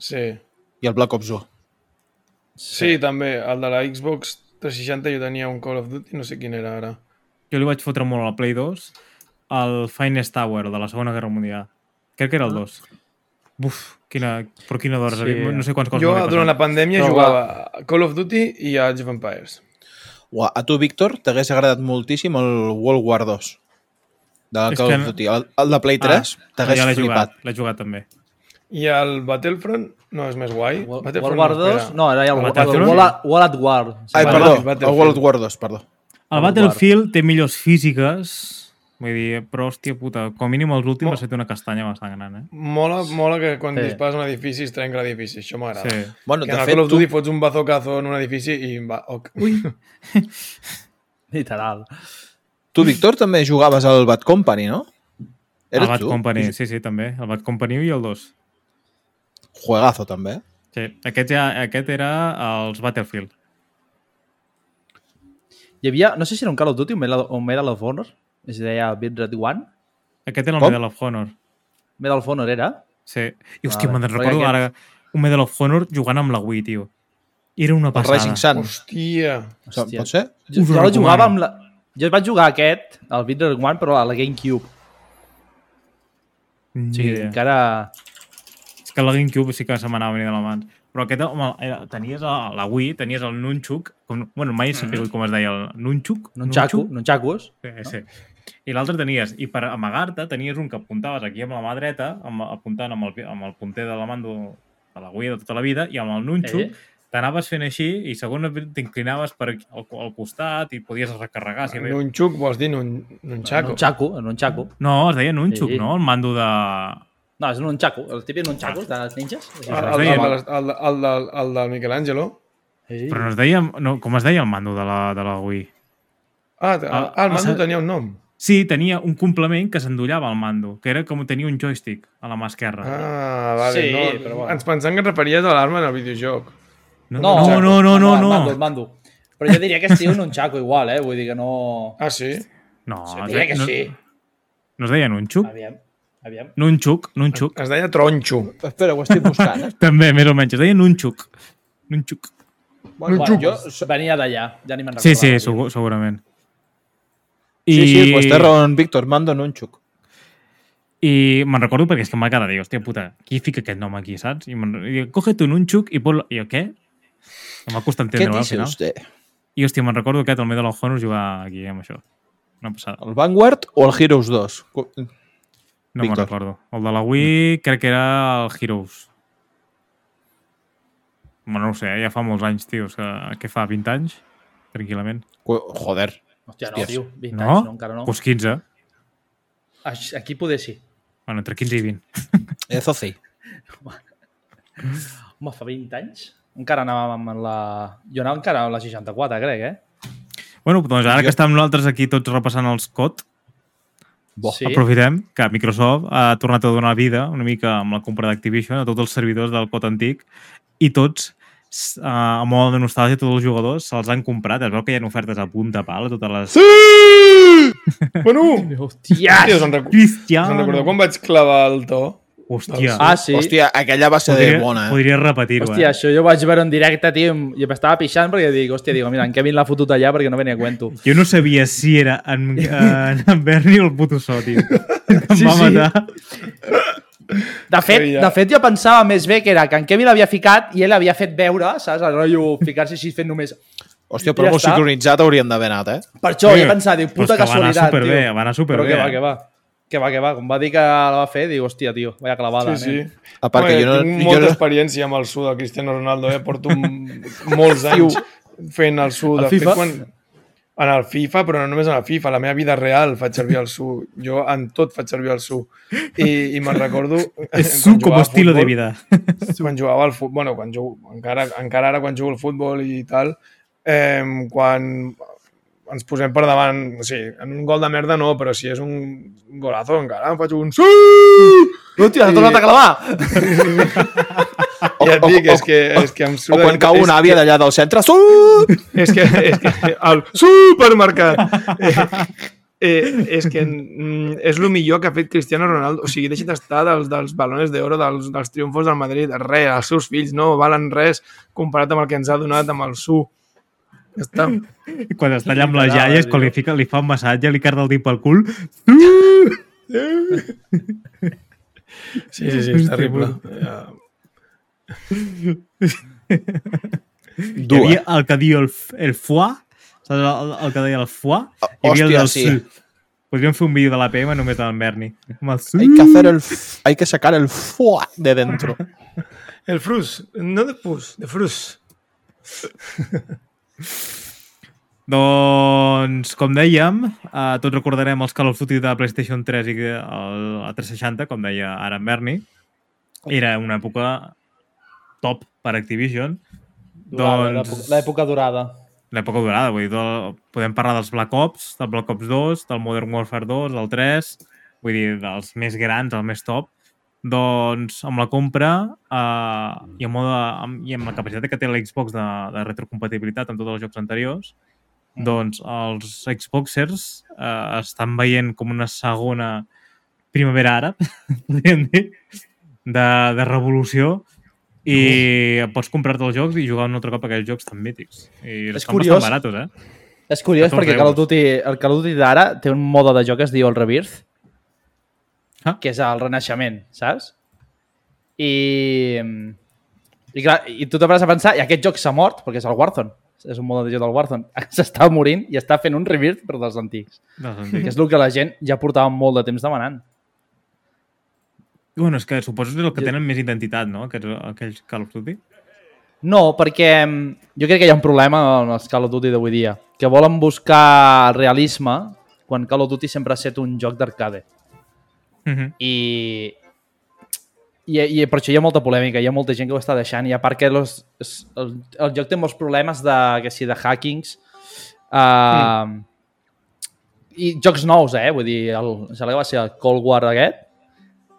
S5: Sí.
S3: i el Black Ops 1.
S5: Sí, també. El de la Xbox 360 jo tenia un Call of Duty, no sé quin era ara.
S6: Jo li vaig fotre molt al Play 2 el Finest Tower de la Segona Guerra Mundial. Crec que era el 2. Buf, quina, però quina d'hores.
S4: Sí.
S6: Sí. No sé quants coses
S5: Jo
S6: m'havia
S5: durant la
S6: passat.
S5: pandèmia
S4: Però
S5: jugava a Call of Duty i a Age of Empires.
S3: Ua, a tu, Víctor, t'hagués agradat moltíssim el World War 2 del
S6: És
S3: Call
S6: que
S3: of
S6: no-
S3: Duty. El, el de Play 3 ah, t'hagués
S6: ja l'he
S3: flipat.
S6: jugat, l'he jugat també.
S5: I el Battlefront no és més guai.
S4: World
S5: Battlefront
S4: War
S5: espera.
S4: 2, no, era ja el World
S6: Battlefield?
S4: World at- World at War. Sí,
S3: Ai,
S5: Battle-
S3: perdó,
S5: Battlefield.
S3: el World War 2, perdó.
S6: El Battlefield té millors físiques, vull dir, però hòstia puta, com a mínim els últims
S5: Mo-
S6: va ser una castanya bastant gran, eh?
S5: Mola, mola que quan
S4: Sí.
S5: dispares un edifici es trenca l'edifici, això m'agrada.
S6: Sí.
S5: Sí.
S3: Bueno,
S5: Que
S3: de
S5: en el
S3: fet,
S5: Call of
S3: tu,
S5: Duty fots un bazocazo en un edifici i va, ok. Ui.
S4: Literal.
S3: tu, Víctor, també jugaves al Bad Company, no?
S6: El
S3: Eres
S6: Bad
S3: tu?
S6: Company, sí, sí, també. El Bad Company i el 2.
S3: Juegazo, també. eh?
S6: Sí, aquest, ja, aquest era els Battlefield.
S4: Hi havia, no sé si era un Call of Duty o un Medal- o un Medal of Honor, es deia Bitrate One.
S6: Aquest era el
S3: Com?
S6: Medal of Honor.
S4: Medal of Honor era.
S6: Sí. I hòstia,
S4: Vale.
S6: me'n
S4: Perquè
S6: recordo
S4: aquest-
S6: ara un Medal of Honor jugant amb la Wii, tio. Era una
S3: El
S6: passada.
S3: Rising Sun.
S5: Hòstia.
S4: Hòstia.
S3: Pot ser?
S4: Jo,
S6: Us ho
S4: jo la jugava
S6: recomano.
S4: amb la... Jo vaig jugar a aquest, el Bitrate One, però a la GameCube.
S6: Ni
S4: O sigui,
S6: idea.
S4: encara...
S6: És que la GameCube sí que se m'anava venir de la mans. Però aquest, home, era- tenies la, la Wii, tenies el Nunchuk, com, bueno, mai
S3: Mm.
S6: he sabut com es deia, el Nunchuk?
S4: No xaco, no xacos.
S6: Sí, sí. I l'altre tenies, i per amagar-te tenies un que apuntaves aquí amb la mà dreta, amb, apuntant amb el, amb el punter de la mando de la Wii de tota la vida, i amb el Nunchuk
S4: Eh?
S6: t'anaves fent així i segons t'inclinaves per aquí- al, al costat i podies recarregar. Si
S5: En un xuc vols dir en un, en un xaco.
S4: No xaco, no xaco.
S6: No, es deia Nunchuk,
S4: Sí.
S6: sí. no? El mando de...
S4: No, és un xaco, el típic un xaco de ninjas.
S5: Ah, El, el, el, el, el, el, del- el del Michelangelo.
S4: Sí.
S6: Però no es deia... No, com es deia el mando de la, de la Wii?
S5: Ah, te-
S6: Ah,
S5: ah, el mando
S6: ah,
S5: tenia un nom.
S6: Sí, tenia un complement que s'endollava al mando, que era com tenia un joystick a la mà esquerra.
S5: Ah, vale.
S4: Sí,
S5: no,
S4: però bueno.
S5: Ens pensant que et referies a l'arma en el videojoc.
S6: no, no, no, no, no,
S4: El mando,
S6: no.
S4: el mando. Però jo diria que estiu en un xaco igual, eh? Vull dir que no...
S5: Ah, sí?
S6: No,
S4: Sí,
S6: es
S4: diria
S6: deia-
S4: que
S6: no,
S4: sí.
S6: no es deia Nunchuk?
S4: Aviam, aviam.
S6: Nunchuk, Nunchuk.
S5: Es deia tronxo.
S3: Espera, ho estic buscant. eh?
S6: També, més o menys, es deia Nunchuk. Nunchuk.
S3: Bueno,
S4: Bueno,
S3: jo...
S4: jo venia d'allà, ja ni me'n
S6: Sí, sí,
S4: recordava.
S6: segur, segurament.
S3: Sí, sí, pues té raó en Víctor, mando en un xuc.
S6: I me'n recordo perquè és que m'ha quedat, dic, hòstia puta, qui fica aquest nom aquí, saps? I, me'n- i dic, coge tu un xuc i pot... I jo, què? Em va costar
S3: Què
S6: entendre-ho al
S3: dice
S6: final.
S3: usted?
S6: I hòstia, me'n recordo aquest, el Medal of Honor, jugar aquí eh, amb això. Una passada.
S3: El Vanguard o el Heroes 2? Cu-
S6: No me'n
S3: Víctor.
S6: recordo. El de la Wii crec que era el Heroes. Bueno, no ho sé, eh, ja fa molts anys, tio. Que, que fa 20 anys, tranquil·lament. Doncs
S3: cu- Joder.
S4: Hòstia, no,
S3: Hòsties.
S4: tio, 20
S6: No?
S4: anys, no, encara no.
S6: Pues 15.
S4: Aix- Aquí poder sí.
S6: Bueno, entre 15 i 20.
S3: Eso sí.
S4: Home, fa 20 anys? Encara anàvem amb la... Jo anava encara amb la 64, crec, eh?
S6: Bueno, doncs ara
S3: Jo-
S6: que estem nosaltres aquí tots repassant els COD,
S3: Bo.
S4: Sí.
S6: Aprofitem que Microsoft ha tornat a donar vida una mica amb la compra d'Activision a tots els servidors del Cot Antic i tots, s- eh, amb molt de nostàlgia, tots els jugadors se'ls han comprat. Es veu que hi ha ofertes a punta pal a totes les...
S5: Sí! Bueno,
S4: Hòstia!
S5: tio, us en, recu
S6: Cristian!
S5: us en recordeu quan vaig clavar el to?
S6: Hòstia,
S4: Ah, sí.
S3: Hòstia, aquella va ser
S6: podria,
S3: de bona, eh?
S6: podria repetir-ho,
S4: Hòstia,
S6: eh?
S4: això jo ho vaig veure en directe, tio, i em- i m'estava pixant perquè dic, hòstia, digo, mira, en Kevin l'ha fotut allà perquè no venia a cuento.
S6: Jo no sabia si era en, en, en Berni o el puto so, tio. Em
S4: Sí,
S6: va
S4: sí.
S6: matar.
S4: De fet,
S5: Sí, ja.
S4: de fet, jo pensava més bé que era que en Kevin l'havia ficat i ell l'havia fet veure, saps? El rotllo ficar-se així fent només...
S3: Hòstia,
S4: Ja
S3: però molt
S4: està.
S3: sincronitzat hauríem d'haver anat, eh?
S4: Per això,
S6: Sí,
S4: jo pensava, diu,
S6: però és
S4: puta
S6: que va anar
S4: casualitat,
S6: superbé,
S4: tio.
S6: va anar superbé,
S4: Però que va,
S6: eh?
S4: que va. Que va, que va. Com va dir que la va fer, dic, hòstia, tio, vaya clavada.
S5: Sí, sí.
S4: nen.
S3: eh? A part que jo no-
S5: Tinc
S3: jo
S5: molta
S3: no-
S5: experiència amb el sud de Cristiano Ronaldo, eh? Porto un- molts anys fent el sud.
S4: Al
S5: De fet,
S4: FIFA?
S5: quan, en el FIFA, però no només en el FIFA, a la meva vida real faig servir el sud. Jo en tot faig servir el sud. I, i me'n recordo...
S6: És
S5: quan
S6: su com
S5: jugava a
S6: estilo de
S5: futbol,
S6: vida.
S5: quan jugava al futbol, bueno, quan jugo, encara, encara ara quan jugo al futbol i tal, eh, quan ens posem per davant, o sigui, en un gol de merda no, però si és un golazo encara em faig un sí!
S4: Hòstia, s'ha tornat a clavar!
S5: I et
S3: O- o-
S5: dic, és
S3: o-
S5: que, és que em
S3: O
S5: surt...
S3: quan cau una àvia d'allà del centre... Surt!
S5: És que, és que el supermercat. Eh, eh, és que mm, és el millor que ha fet Cristiano Ronaldo. O sigui, deixa't estar dels, dels balones d'oro, dels, dels triomfos del Madrid. Res, els seus fills no valen res comparat amb el que ens ha donat amb el su. Ja està.
S6: Quan està allà amb les
S4: Literal,
S6: iaies,
S4: tio.
S6: quan li, fica, li fa un massatge, li carda el dit pel cul,
S5: Sí, sí, sí, és terrible. Ja.
S6: Hi
S3: Dur,
S6: havia
S3: eh?
S6: el que diu el, f- el foie, saps el, el que deia el foie? Hi havia
S3: Ah, hòstia,
S6: el del
S3: sí.
S6: su. Podríem fer un vídeo de l'APM només del Berni. Amb el su.
S3: Hay que hacer el... f- Hay que sacar el fuá de dentro.
S5: El frus, no de pus, de frus.
S6: Doncs, com dèiem, eh, tots recordarem els Call of Duty de PlayStation 3 i de- el, a 360, com deia ara en Berni. Era una època top per Activision.
S4: Durada,
S6: Doncs-
S4: l'època- L'època durada.
S6: l'època durada, vull dir, del, podem parlar dels Black Ops, del Black Ops 2, del Modern Warfare 2, del 3, vull dir, dels més grans, el més top, doncs amb la compra eh, i, amb, mode, amb, i amb la capacitat que té l'Xbox de, de retrocompatibilitat amb tots els jocs anteriors,
S4: Mm.
S6: doncs els Xboxers eh, estan veient com una segona primavera àrab, podríem dir, de, de revolució i pots comprar-te els jocs i jugar un altre cop a aquells jocs tan mítics. I
S4: És
S6: estan
S4: curiós.
S6: bastant baratos, eh?
S4: És curiós
S6: 14
S4: perquè Call of
S6: euros.
S4: Duty, el Call of Duty d'ara té un mode de joc que es diu el Rebirth,
S6: Ah.
S4: que és el renaixement, saps? I, i, clar, i tu te vas a pensar, i aquest joc s'ha mort, perquè és el Warzone, és un mode de joc del Warzone, s'està morint i està fent un Rebirth però dels antics,
S6: Dels
S4: que
S6: antics.
S4: és el que la gent ja portava molt de temps demanant.
S6: Bueno, és que suposo que és el que tenen més identitat, no? Aquests, aquells Call of Duty.
S4: No, perquè mm, jo crec que hi ha un problema en els Call of Duty d'avui dia, que volen buscar realisme quan Call of Duty sempre ha estat un joc d'arcade.
S6: Uh -huh.
S4: i, i, i per això hi ha molta polèmica, hi ha molta gent que ho està deixant i a part que los, es- el, el joc té molts problemes de, que si, de hackings uh, i jocs nous, eh? Vull dir, el, em sembla que va ser el Cold War aquest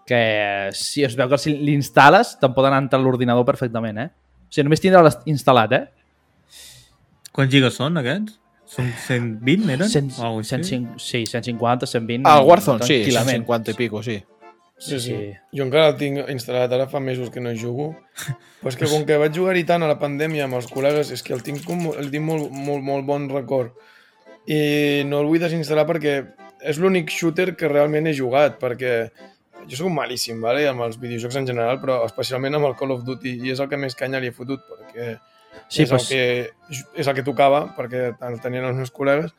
S4: que si es veu que si l'instal·les te'n poden entrar a l'ordinador perfectament, eh? O sigui, només tindre instal·lat, eh?
S6: Quants gigas són, aquests? Són 120, eren?
S4: 100,
S6: O alguna cosa així?
S4: 150, sí, 150, 120...
S3: Ah, el Warzone, sí,
S4: tranquil·lament.
S3: 150 i pico, sí.
S5: Sí, sí.
S4: Sí.
S5: Jo encara el tinc instal·lat, ara fa mesos que no hi jugo. Però és que com que vaig jugar-hi tant a la pandèmia amb els col·legues, és que el tinc, com, el tinc molt, molt, molt bon record. I no el vull desinstal·lar perquè és l'únic shooter que realment he jugat, perquè jo sóc malíssim, vale? amb els videojocs en general, però especialment amb el Call of Duty, i és el que més canya li he fotut, perquè
S4: Sí,
S5: és,
S4: pues,
S5: el que, és el que tocava, perquè el tenien els meus col·legues,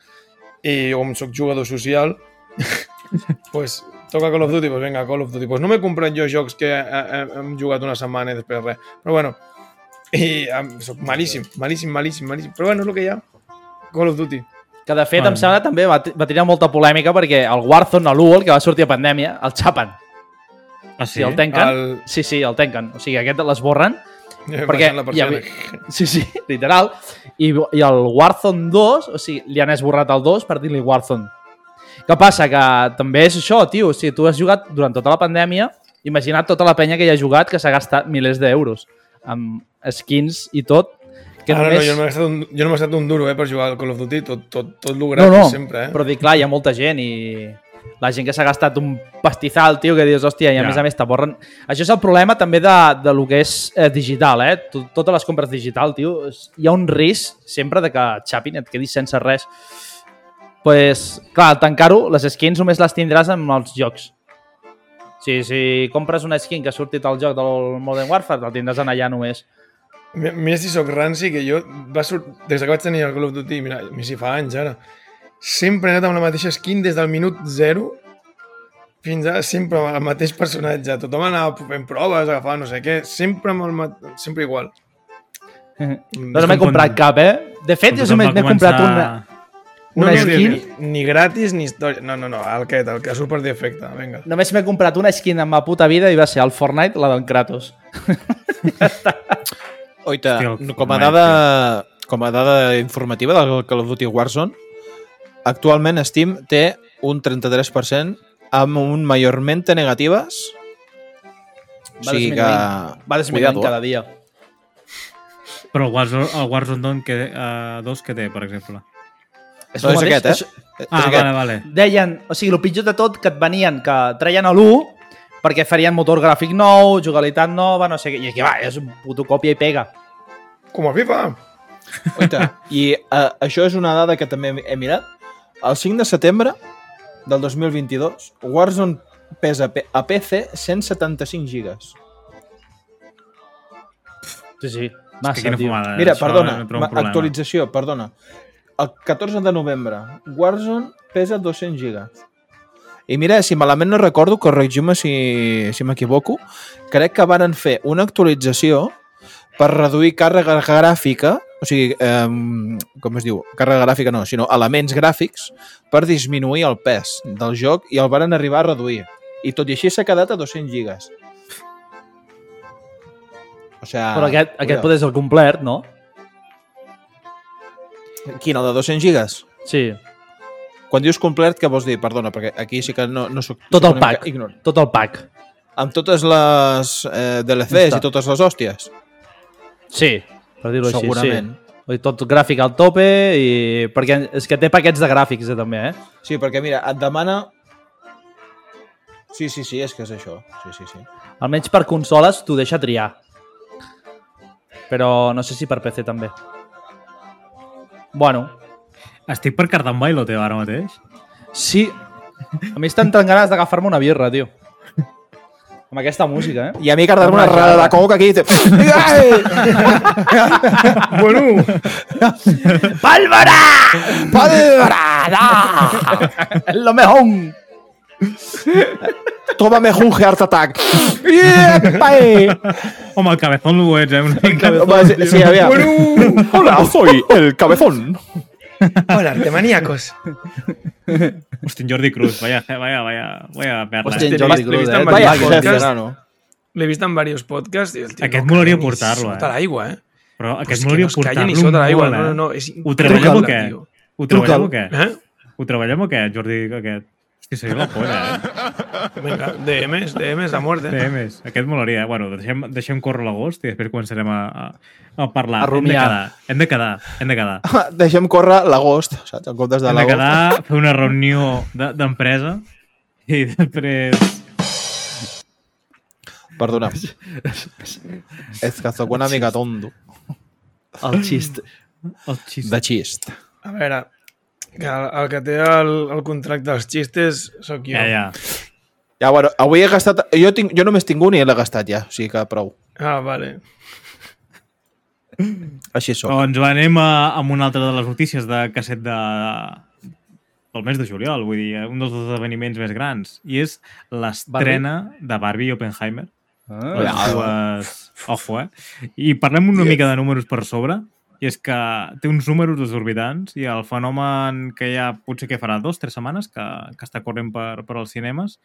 S5: i com sóc jugador social, pues, toca Call of Duty, pues vinga, Call of Duty. Pues no m'he comprat jo jocs que eh, eh, hem jugat una setmana i després res. Però bueno, i em, soc malíssim, malíssim, malíssim, malíssim. Però bueno, és el que hi ha. Call of Duty.
S4: Que de fet,
S6: Bueno.
S4: em sembla també va, va tenir molta polèmica perquè el Warzone, l'1, el que va sortir a pandèmia, el xapen.
S6: Ah,
S4: Sí? Si el
S6: tenc.
S4: tanquen, el...
S5: El-
S4: sí, sí, el tanquen. O sigui, aquest l'esborren.
S5: Baixant
S4: Perquè
S5: la
S4: hi
S5: persiana.
S4: havia... Sí, sí, literal. I, I el Warzone 2, o sigui, li han esborrat el 2 per dir-li Warzone. Què passa? Que també és això, tio. Si tu has jugat durant tota la pandèmia, imagina't tota la penya que hi ha jugat que s'ha gastat milers d'euros amb skins i tot. Que
S5: Ara
S4: només...
S5: no, jo no m'he gastat, un, jo no m'he gastat un duro eh, per jugar al Call of Duty, tot, tot, tot lo
S4: no,
S5: gratis
S4: no,
S5: sempre. Eh?
S4: però dic, clar, hi ha molta gent i la gent que s'ha gastat un pastizal, tio, que dius, hòstia, i a
S6: Ja.
S4: ja. més a més t'aborren... Això és el problema també de, de lo que és eh, digital, eh? Tot- Totes les compres digital, tio, és- hi ha un risc sempre de que et xapin, et quedis sense res. pues, clar, al tancar-ho, les skins només les tindràs amb els jocs. Sí, si compres una skin que ha sortit al joc del Modern Warfare, la tindràs en allà només.
S5: Mi- Mira si sóc ranci, que jo va sort... des que vaig tenir el Call of Duty, mira, mira si fa anys ara, sempre he anat amb la mateixa skin des del minut zero fins ara, sempre amb el mateix personatge. Tothom anava fent proves, agafava no sé què, sempre, amb el, ma- sempre igual.
S4: No se m'he
S6: com quan-
S4: comprat cap, eh? De
S6: Doncs
S4: fet, jo només m'he comprat una, una
S5: no,
S4: skin...
S5: Ni, ni gratis ni història. No, no, no, el que, el que surt per defecte, vinga.
S4: Només m'he comprat una skin en ma puta vida i va ser el Fortnite, la del Kratos.
S3: Oita,
S6: Hòstia, el
S3: com a
S6: Fortnite,
S3: dada, com a dada informativa del Call of Duty Warzone, actualment Steam té un 33% amb un majorment de negatives. O
S4: Va
S3: sigui que...
S4: disminuint. Va disminuint
S3: Cuidado, eh.
S4: cada dia.
S6: Però el Warzone, el Warzone 2, que, uh, 2 que té, per exemple.
S3: És no,
S4: el
S3: és
S4: mateix,
S3: aquest, eh? És
S6: Ah,
S3: aquest.
S6: vale, vale.
S4: això- Deien, o sigui, el pitjor de tot que et venien, que treien a l'1 perquè farien motor gràfic nou, jugabilitat nova, no sé què. I aquí, va, és un puto còpia i pega.
S5: Com a FIFA!
S3: Oita, i uh, això és una dada que també he mirat. El 5 de setembre del 2022, Warzone pesa pe- a PC 175 gigas.
S4: Sí, sí.
S6: que
S4: Massa,
S6: quina
S4: tio.
S6: fumada. eh,
S3: Mira,
S6: això
S3: perdona,
S6: no trobo
S3: ma-
S6: problema.
S3: actualització, perdona. El 14 de novembre, Warzone pesa 200 gigas. I mira, si malament no recordo, corregiu-me si, si m'equivoco, crec que varen fer una actualització per reduir càrrega gràfica, o sigui, eh, com es diu? Càrrega gràfica no, sinó elements gràfics per disminuir el pes del joc i el varen arribar a reduir. I tot i així s'ha quedat a 200 gigas. O sea,
S4: Però aquest, aquest
S3: cuidao.
S4: poder és el complet, no?
S3: Quin, el de 200 gigas?
S4: Sí.
S3: Quan dius complet, què vols dir? Perdona, perquè aquí sí que no, no soc...
S4: Tot
S3: soc
S4: el
S3: una mica
S4: pack.
S3: Ignorant.
S4: Tot el pack.
S3: Amb totes les eh, DLCs
S4: Està.
S3: i totes les hòsties?
S4: Sí, per dir-ho així.
S3: Segurament.
S4: Sí. Vull dir, Tot gràfic al tope i... Perquè és que té paquets de gràfics, eh, també, eh?
S3: Sí. sí, perquè mira, et demana... Sí, sí, sí, és que és això. Sí, sí, sí.
S4: Almenys per consoles t'ho deixa triar. Però no sé si per PC també. Bueno,
S6: Estic per cardar un bailo teu ara mateix.
S4: sí. A mi estan tan ganes d'agafar-me una birra, tio. Amb aquesta música, eh?
S3: I a mi cardar una
S4: Una
S3: rara de
S4: jarra.
S3: coca aquí... Te... Ai!
S5: bueno,
S4: Pàlvora!
S3: Padrada!
S4: Lo mejor!
S3: Tómame un heart attack! Iepa!
S6: Home, el cabezón ho ets, eh? Una mica.
S3: Va, sí, sí, aviam.
S5: bueno!
S3: Hola, soy el cabezón.
S5: Hola, artemaníacos.
S6: Hòstia, en Jordi Cruz, vaya, vaya, vaya, vaya perla.
S4: Hòstia,
S6: Hòstia,
S4: en
S5: l'he
S4: Jordi
S5: vist- l'he
S4: Cruz,
S5: vist
S4: eh?
S5: en
S3: Vaya
S5: varios
S3: jefe,
S5: podcasts.
S3: nano.
S5: L'he vist en diversos podcasts i el tio...
S6: Aquest
S5: no,
S6: m'hauria
S5: calla ni
S6: portar-lo, eh?
S5: Sota l'aigua, eh?
S6: Però
S5: Però
S6: aquest
S5: és
S6: m'ho
S5: que no
S6: hauria
S5: es calla ni
S6: portat-lo
S5: sota
S6: molt,
S5: l'aigua.
S6: eh?
S5: No, no, no, és
S6: Ho treballem o
S5: intocable,
S6: què?
S5: tio.
S6: Ho treballem o què?
S5: Eh?
S6: Ho treballem o què, Jordi, aquest? Hòstia, seria la polla, eh?
S5: Vinga, DMs, DMs a mort, eh?
S6: Bé, més, aquest molaria. eh? Bueno, deixem, deixem córrer l'agost i després començarem a, a, a parlar.
S4: A rumiar.
S6: Hem de quedar, hem de quedar. Hem de quedar,
S3: Deixem córrer l'agost, saps? En comptes de
S6: hem de
S3: l'agost.
S6: quedar fer una reunió de- d'empresa i després...
S3: Perdona. És que sóc una mica tondo.
S4: El xist.
S6: El xist.
S3: De xist.
S5: A veure, que el, el que té el, el contracte dels xistes sóc jo.
S6: Ja, ja.
S3: Ja, bueno, avui he gastat... Jo, tinc, jo només tinc un i l'he gastat ja, o sigui que prou.
S5: Ah, vale.
S3: Així sóc. Oh.
S6: Doncs va, anem a, amb una altra de les notícies de casset de, del mes de juliol, vull dir, un dels esdeveniments més grans, i és l'estrena de Barbie i Oppenheimer.
S4: Ah.
S6: Les dues... Ojo, eh? I parlem una mica de números per sobre, i és que té uns números desorbitants i el fenomen que ja potser que farà dos, tres setmanes, que, que està corrent per, per als cinemes,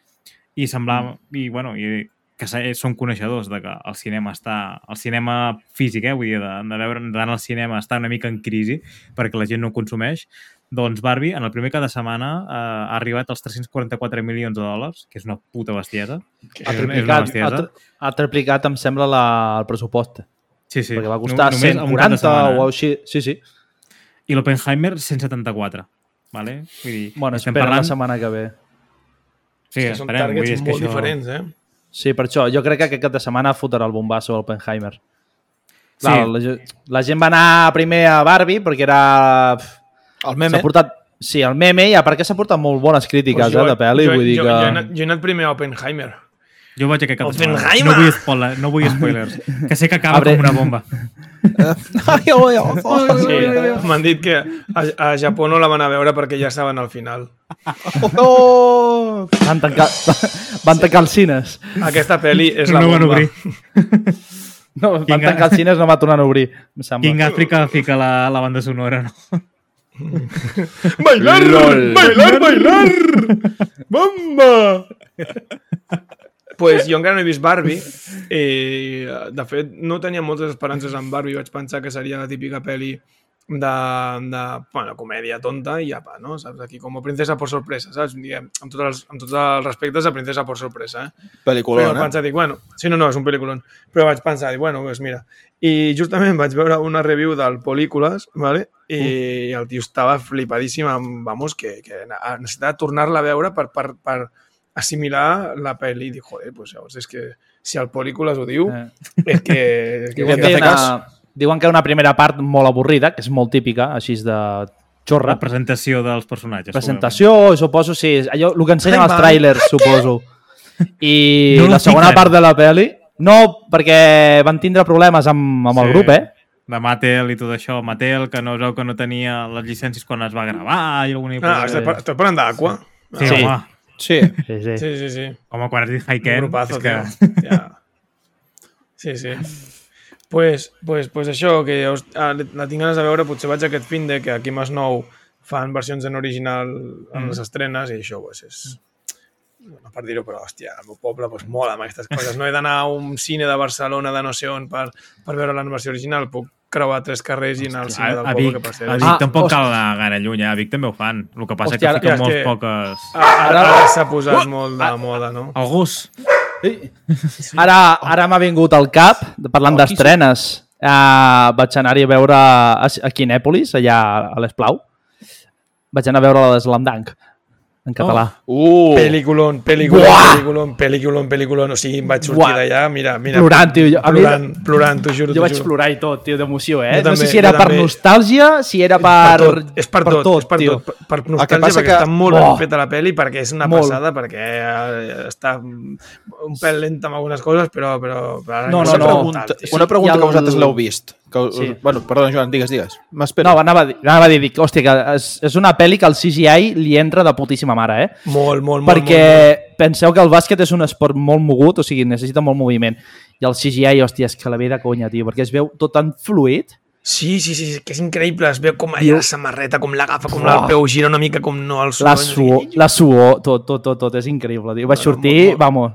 S6: i sembla... I, bueno, i que se- són coneixedors de que el cinema està... El cinema físic, eh? Vull dir, de, de veure d'anar al cinema està una mica en crisi perquè la gent no consumeix. Doncs Barbie, en el primer cada setmana, eh, ha arribat als 344 milions de dòlars, que és una puta bestiesa.
S4: Ha
S6: És una- és una
S4: triplicat, ha,
S6: bestiesa.
S4: tr- ha triplicat, em sembla, la, el pressupost.
S6: Sí,
S4: Sí.
S6: sí.
S4: Perquè va costar
S6: No-
S4: no,
S6: només en un cap
S4: 140
S6: de
S4: o
S6: setmana, eh?
S4: alguna així. Sí, sí.
S6: I l'Oppenheimer, 174. Vale? Vull dir,
S4: Bueno,
S6: estem
S4: espera
S6: parlant...
S4: la setmana que ve.
S6: Sí,
S5: que són
S6: esperem, vull dir,
S5: targets
S6: és
S5: molt
S6: que això...
S5: diferents, eh?
S4: Sí, per això. Jo crec que aquest cap de setmana fotrà el bombasso a Oppenheimer.
S6: Sí.
S4: Clar, la, ge- la gent va anar primer a Barbie perquè era...
S3: El
S4: S'ha
S3: meme...
S4: portat... Sí, el meme, i a part que s'ha portat molt bones crítiques
S5: Pues jo-
S4: eh, de pel·li,
S5: jo-
S4: vull dir
S5: jo,
S4: que...
S5: Jo, he anat, jo he anat primer a Oppenheimer.
S6: Jo vaig aquest cap de setmana.
S5: Oppenheimer!
S6: No vull, spoiler, no vull spoilers. Que sé que acaba
S4: Abre-
S6: com una bomba.
S3: Ai, oi, oi, oi,
S5: Sí, m'han dit que a, a Japó no la van a veure perquè ja estaven al final.
S3: oi.
S4: Van tancar, van tancar els cines.
S5: Aquesta pel·li és
S6: Però
S5: la
S6: no van
S5: bomba.
S6: obrir.
S4: No, van
S6: Vinga.
S4: tancar els cines, no va tornar a obrir, em sembla.
S6: King Africa fica la, la banda sonora, no?
S5: Bailar,
S3: Lol.
S5: bailar, bailar! Bomba! pues jo encara no he vist Barbie. Eh, de fet, no tenia moltes esperances en Barbie. Vaig pensar que seria la típica pel·li de, de bueno, comèdia tonta i apa, no? Saps? Aquí com a princesa por sorpresa, saps? Diguem, amb, tots els, amb tots els respectes a princesa por sorpresa, eh?
S3: Pel·lícula,
S5: Però vaig pensar, dic, bueno, sí, no, no, és un pel·lículon. Però vaig pensar, dic, bueno, doncs mira. I justament vaig veure una review del Polícules, ¿vale? i uh. el tio estava flipadíssim amb, vamos, que, que na- necessitava tornar-la a veure per, per, per assimilar la pel·li. Dic, joder, pues llavors és que si el Polícules ho diu,
S4: Eh.
S5: és que... És que,
S4: Diuen
S5: és
S4: que,
S5: que
S4: hi ha
S3: fer
S4: una, diuen que hi ha una primera part molt avorrida, que és molt típica, així és de xorra.
S6: La presentació dels personatges.
S4: Presentació, suposo, sí, és allò, el que ensenyen
S5: Ai,
S4: els
S5: va.
S4: trailers, suposo. I
S6: No
S4: no la
S6: el
S4: segona
S6: piquen.
S4: part de la pel·li... No, perquè van tindre problemes amb, amb sí. el
S6: Sí.
S4: grup, eh?
S6: de Mattel i tot això, Mattel, que no es veu que no tenia les llicències quan es va gravar i alguna
S5: Ah,
S6: cosa.
S5: estic par- estic parlant d'Aqua.
S6: sí,
S4: Sí.
S6: Home,
S3: Sí.
S4: Sí, sí. sí.
S5: Sí, sí, sí.
S6: home, quan has dit
S5: Qué
S6: Haiken,
S5: grupazo,
S6: és que...
S5: tio. Ja. Sí, sí. Pues, pues, pues això, que us, ah, la tinc ganes de veure, potser vaig aquest fin de que aquí a Masnou fan versions en original
S6: Mm.
S5: en les estrenes i això pues, és... No per dir-ho, però hòstia, el meu poble pues, mola amb aquestes coses. No he d'anar a un cine de Barcelona de no sé on per, per veure la versió original. Puc creuar tres carrers i anar al
S6: A,
S5: cine del
S6: a
S5: poble
S6: Vic,
S5: que per
S6: a
S5: cert...
S6: Vic
S5: Ah,
S4: Ah,
S6: tampoc
S4: ostres.
S6: cal anar gaire lluny, eh? a Vic també ho fan. El que passa
S4: Hòstia,
S6: que
S4: ara-
S5: ja, és
S6: fiquen molt
S5: que-
S6: poques...
S5: ara ara s'ha
S6: Uh!
S5: posat molt de moda, no?
S6: El gos.
S4: Ara, ara m'ha vingut al cap, parlant d'estrenes. Uh, vaig anar-hi a veure a, a Quinèpolis, allà a l'Esplau. Vaig anar a veure la de Slamdank, en català.
S3: Uh.
S5: Peliculón, peliculón,
S4: Buah!
S5: peliculón, peliculón, peliculón. O sigui, em vaig sortir
S4: Buah.
S5: d'allà, mira, mira.
S4: Plorant, tio, jo- a mi-
S5: plorant, plorant, t'ho juro,
S4: Jo
S5: t'ho
S4: vaig
S5: juro.
S4: plorar i tot, tio, d'emoció, eh? no
S5: Jo
S4: sé
S5: també,
S4: si era
S5: jo
S4: per
S5: també.
S4: nostàlgia, si era per...
S5: tot, és per, tot, és per
S4: tio.
S5: tot. Per, per
S3: El que
S5: nostàlgia,
S3: passa
S5: perquè
S3: que- Oh!
S5: està molt ben
S4: Buah!
S5: feta la pel·li, perquè és una
S4: Molt.
S5: passada, perquè eh, està un pèl lenta amb algunes coses, però... però, però
S4: No,
S3: Una
S4: no, no.
S3: pregunta,
S5: Brutal, tio.
S3: una pregunta
S4: I el-
S3: que vosaltres l'heu vist. Que, us-
S4: Sí.
S3: Bueno, perdona, Joan, digues, digues. M'espero.
S4: No, anava a dir, anava a dir, dic, hòstia, que és, és una pel·li que el CGI li entra de putíssima mare, eh?
S5: Molt, molt, molt.
S4: Perquè
S5: molt,
S4: penseu que el bàsquet és un esport molt mogut, o sigui, necessita molt moviment. I el CGI, hòstia, és que la ve de conya, tio, perquè es veu tot tan fluid.
S5: molt. Sí, sí, sí, sí, que és increïble. Es veu com allà la samarreta, com l'agafa, com
S4: Buah!
S5: el peu gira una mica, com no el
S4: La
S5: soroll, no sé
S4: suor,
S5: què.
S4: la suor, tot, tot, tot, tot, és increïble, tio. Vaig
S5: Bueno,
S4: sortir,
S5: molt, molt.
S4: vamos,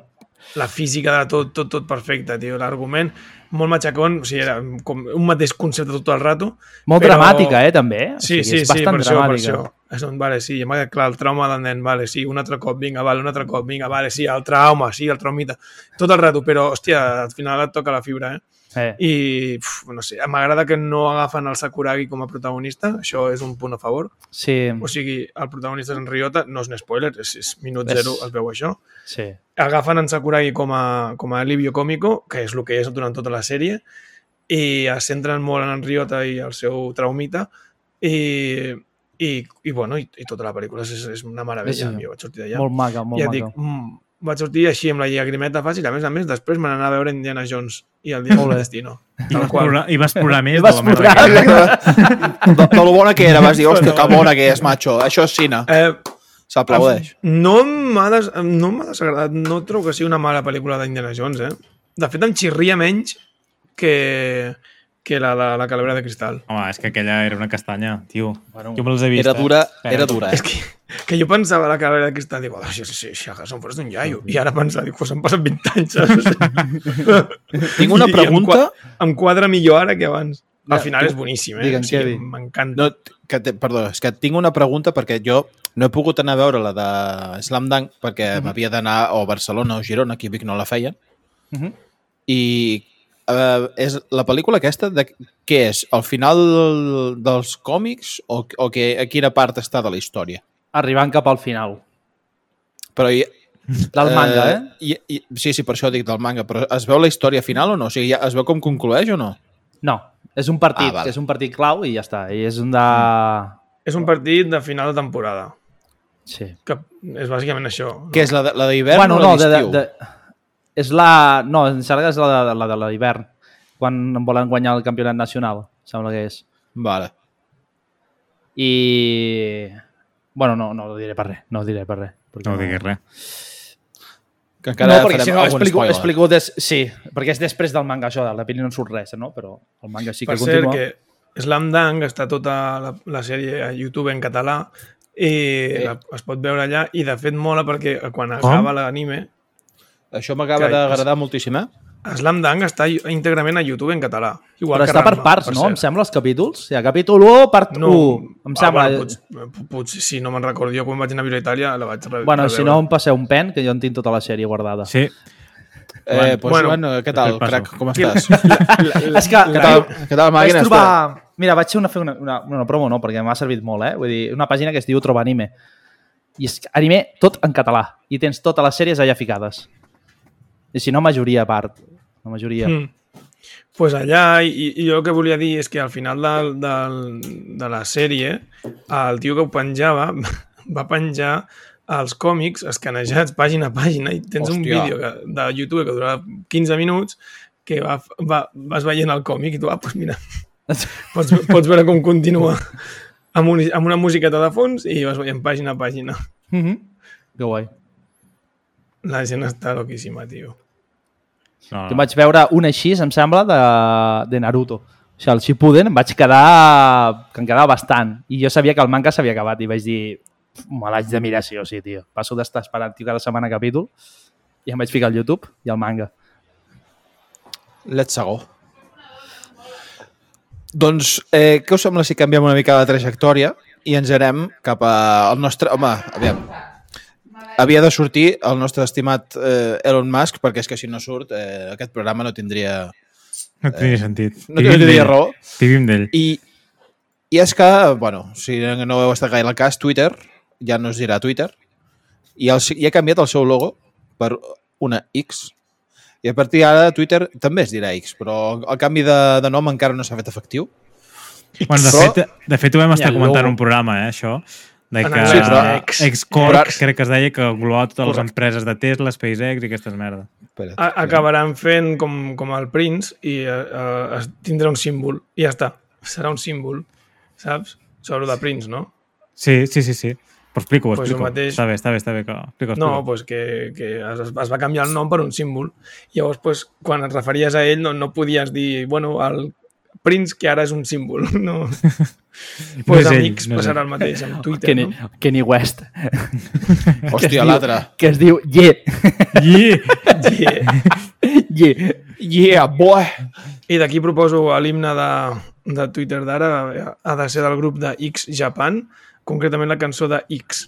S5: la física de tot, tot, tot perfecte, tio. L'argument molt matxacón, o sigui, era com un mateix concepte tot el rato.
S4: molt
S5: però-
S4: dramàtica, eh, també. O
S5: Sí,
S4: sigui,
S5: sí,
S4: és
S5: sí, per
S4: bastant
S5: això, per
S4: dramàtica.
S5: això.
S3: eh?
S5: És on, vale, sí, m'ha quedat clar, el trauma del nen, vale, sí, un altre cop, vinga, vale, un altre cop, vinga, vale, sí, el trauma, sí, el traumita, tot el rato, però, hòstia, al final et toca la fibra, eh?
S4: Eh.
S5: I, uf, no sé, m'agrada que no agafen el Sakuragi com a protagonista, això és un punt a favor.
S4: Sí,
S5: O sigui, el protagonista és en Ryota, no és un spoiler, és, és minut
S4: És-
S5: zero, es veu això
S4: sí.
S5: agafen en Sakuragi com a, com a alivio còmico, que és el que és durant tota la sèrie, i es centren molt en en Ryota i el seu traumita, i, i, i, bueno, i, i tota la pel·lícula és, és una
S4: Sí,
S5: meravella.
S4: sí.
S5: Jo vaig sortir d'allà.
S4: Molt maca, molt
S5: ja
S4: maca.
S5: dic, mm, vaig sortir així amb la llagrimeta fàcil, a més a més, després me n'anava a veure Indiana Jones i el dia del destino.
S6: I
S5: Tal
S6: vas,
S5: qual.
S6: plorar, I vas plorar més
S4: I vas
S6: de la meva
S4: plorar.
S6: cara.
S3: De, de lo bona que era, vas dir, hòstia, que bona que és, macho. Això és cine.
S5: Eh,
S3: S'aplaudeix.
S5: No m'ha des... no m'ha desagradat, no trobo que sigui una mala pel·lícula d'Indiana Jones, eh? De fet, em xirria menys que, que la de la Calavera de Cristal.
S6: Home, és que aquella era una castanya, tio. jo me les he vist.
S3: Era
S6: eh?
S3: dura,
S6: Espera.
S3: era dura, eh?
S5: És que, que jo pensava la Calavera de Cristal, dic, oh, sí, sí, sí, això, que són fos d'un iaio. I ara pensava, dic, pues, han passat 20 anys. saps?
S3: Tinc una
S5: I em
S3: pregunta.
S5: qua- Em quadra millor ara que abans.
S7: Al final és boníssim, eh?
S3: Digue'm,
S7: o sigui,
S3: Kevin.
S7: M'encanta.
S3: No, que te, perdó, és que tinc una pregunta perquè jo no he pogut anar a veure la de Slam Dunk perquè m'havia d'anar o a Barcelona o Girona, aquí a Vic no la feien.
S4: Mhm.
S3: I eh, és la pel·lícula aquesta, de, què és? Al final dels còmics o, o que, a quina part està de la història?
S4: Arribant cap al final.
S3: Però hi,
S4: Del manga, eh?
S3: I, i, sí, sí, per això dic del manga, però es veu la història final o no? O sigui, ja es veu com conclueix o no?
S4: No, és un partit,
S3: Ah, val.
S4: que és un partit clau i ja està. I és un de...
S7: És un partit de final de temporada,
S4: Sí.
S7: que és bàsicament això.
S3: Què és, la de- la d'hivern
S4: bueno,
S3: o la
S4: no, de, de,
S3: d'estiu?
S4: de, és la... No, em sembla que és la de la de l'hivern, quan en volen guanyar el campionat nacional, sembla que és.
S3: Vale.
S4: I... Bueno, no, no ho diré per res, no ho diré per res. Perquè
S6: No diguis res.
S3: Que encara
S4: No, perquè
S3: farem
S4: si no,
S3: algun
S4: explico,
S3: spoiler.
S4: explico des... sí, perquè és després del manga, això, de la pel·li no en surt res, no? Però el manga sí
S7: Sí
S4: que
S7: per cert,
S4: continua.
S7: que Slam Dunk està tota la, la sèrie a YouTube en català i la, es pot veure allà i de fet mola perquè eh, quan acaba l'anime
S3: Això m'acaba
S7: Que-
S3: d'agradar moltíssim, eh?
S7: Slam Dunk està i- íntegrament a YouTube en català. Igual
S4: Però
S7: que
S4: està per
S7: Ranma,
S4: parts, no? Em
S7: cert.
S4: sembla, els capítols? Hi ha capítol 1, part
S7: No,
S4: 1. Em sembla... eh.
S7: Ah, bueno, potser, potser, si no me'n recordo, jo quan vaig anar a viure a Itàlia la vaig re
S4: eh, Bueno, si
S7: reveure.
S4: no em passeu un pen, que jo en tinc tota la sèrie guardada.
S6: Sí.
S3: Eh, pues,
S7: Bueno,
S3: bueno, Joan, què tal,
S6: què passa?
S3: crac? Com estàs?
S4: És que,
S3: què, tal, què tal,
S4: vaig
S3: màquina?
S4: trobar... Mira, vaig fer una, fer una, una, una promo, no, perquè m'ha servit molt, eh? Vull dir, una pàgina que es diu Troba Anime. I és anime tot en català. I tens totes les sèries allà ficades. I si no, majoria a part. La majoria. Mm.
S7: Mm. Pues allà, i, i jo el que volia dir és que al final del, del, de la sèrie, el tio que ho penjava va penjar els còmics escanejats pàgina a pàgina i tens Hòstia. un
S3: Hòstia.
S7: vídeo que, de YouTube que durava 15 minuts que va, va, vas veient el còmic i tu, ah, pues mira, pots, pots veure com continua amb, un, amb una musiqueta de fons i vas veient pàgina a pàgina.
S4: Mm -hmm. Que guai.
S7: La gent està loquíssima, tio.
S6: No,
S7: Ah.
S4: Jo em vaig veure un així, em sembla, de, de Naruto. O sigui, el Shippuden em vaig quedar... que em quedava bastant. I jo sabia que el manga s'havia acabat i vaig dir me l'haig de mirar sí o sí, tio. Passo d'estar esperant tio, cada setmana capítol i em vaig ficar al YouTube i al manga.
S3: Let's go. Doncs, eh, què us sembla si canviem una mica la trajectòria i ens anem cap a- al nostre... Home, aviam. Havia de sortir el nostre estimat eh, Elon Musk, perquè és que si no surt eh, aquest programa no tindria...
S6: no tindria sentit.
S3: No tindria
S6: d'ell.
S3: raó.
S6: Vivim d'ell.
S3: I, I és que, bueno, si no heu estat gaire al cas, Twitter ja no es dirà Twitter i, el, i ha canviat el seu logo per una X i a partir d'ara Twitter també es dirà X, però el canvi de, de nom encara no s'ha fet efectiu.
S6: Bueno, de,
S3: Però-
S6: fet, de fet, ho vam estar
S4: Hi ha
S6: comentant
S4: logo.
S6: en un programa, eh, això. De
S7: En
S6: que
S7: el-
S3: Sí, però-
S6: Xcorp,
S3: però-
S6: crec que es deia que englobava totes les
S3: Correcte.
S6: empreses de Tesla, SpaceX i aquestes merdes.
S3: Espera't.
S7: A acabaran fent com, com el Prince i uh, es tindrà un símbol. I ja està. Serà un símbol, saps? Sobre de Prince, no?
S6: Sí, sí, sí, sí. Però explico, ho
S7: Pues el
S6: explico.
S7: mateix-
S6: Està bé, està bé, està bé. Que... Explico, explico.
S7: No, doncs pues que, que es, es va canviar el nom per un símbol. Llavors, pues, quan et referies a ell, no, no podies dir, bueno, el Prince, que ara és un símbol. No. pues
S6: és ell,
S7: amics
S6: no és
S7: passarà
S6: ell.
S7: el mateix amb Twitter,
S4: Kenny,
S7: no?
S4: Kenny West.
S3: Hòstia, l'altre.
S4: Que es diu Ye.
S6: Yeah.
S7: Yeah.
S4: Ye.
S3: Yeah, boy!
S7: I d'aquí proposo a l'himne de, de Twitter d'ara eh, ha de ser del grup de X Japan, concretament la cançó de X.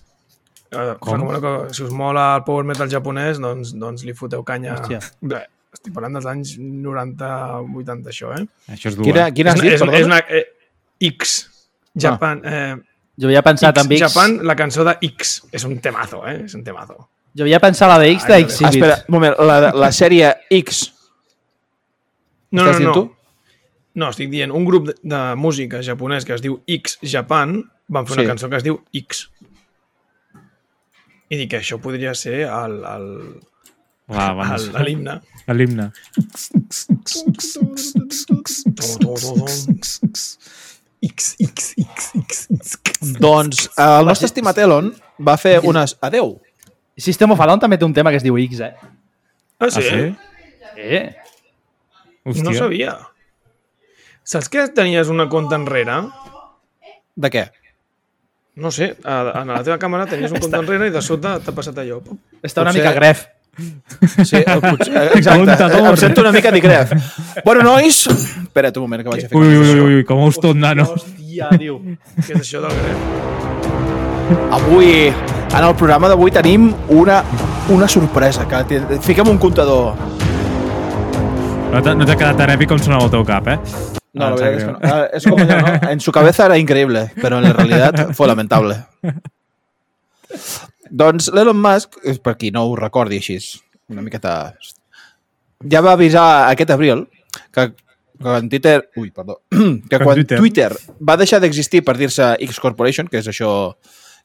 S7: Eh,
S6: Com?
S7: recomano que si us mola el power metal japonès, doncs, doncs li foteu canya.
S4: Hòstia.
S7: Bé, estic parlant dels anys 90-80, això, eh?
S6: Això és dur.
S3: Quina,
S4: Ah,
S6: Quina...
S3: quina has
S7: és,
S3: dit,
S7: una, és, és
S3: perdona?
S7: una eh, X Japan. Eh,
S4: Jo havia pensat en
S7: X,
S4: Ah, X.
S7: Japan, la cançó de X. És un temazo, eh? És un temazo.
S4: Jo havia pensat la de X
S7: Ai,
S4: de
S7: no,
S4: X.
S7: no.
S3: Espera, un moment, la, la sèrie X.
S7: No,
S3: Estàs
S7: no, no.
S3: dient tu?
S7: No, estic dient, un grup de, de música japonès que es diu X Japan van fer una
S3: Sí.
S7: cançó que es diu X. I dic que això podria ser el, el,
S6: Va,
S7: el,
S6: abans.
S7: l'himne. Ah,
S6: L'himne.
S7: X, X, X, X, X.
S3: Doncs eh, el nostre estimat Elon va fer unes... Adeu!
S4: System of a Down també té un tema que es diu X, eh?
S7: Ah,
S6: Ah,
S7: sí?
S6: sí?
S4: Eh?
S6: Hòstia.
S7: No sabia. Saps que tenies una conta enrere?
S3: De què?
S7: No sé, a, a la teva càmera tenies un compte enrere i de sota t'ha passat allò.
S4: Està una
S3: Potser-
S4: mica gref.
S3: Sí, el Puig... Exacte.
S6: Apuntador.
S3: Em sento una mica d'Icref. Bueno, nois... Espera't un moment, que vaig a fer...
S6: Ui, ui, ui, ui, com us tot, nano.
S4: Hòstia, diu.
S7: Què és això del greu?
S3: Avui, en el programa d'avui, tenim una, una sorpresa. Que té- Fiquem un comptador.
S6: No t'ha no t'ha quedat tan èpic com sonava el teu cap, eh? Ah,
S3: No, la
S6: em
S3: verdad
S6: sap
S3: es que
S6: greu.
S3: no. Ah, Es como ya, ¿no? En su cabeza era increíble, pero en la realidad fue lamentable. Doncs l'Elon Musk, és per qui no ho recordi així, una miqueta... Ja va avisar aquest abril que, que quan Twitter... Ui, perdó. Que
S6: Quan
S3: quan
S6: Twitter.
S3: Twitter, Twitter va deixar d'existir per dir-se X Corporation, que és això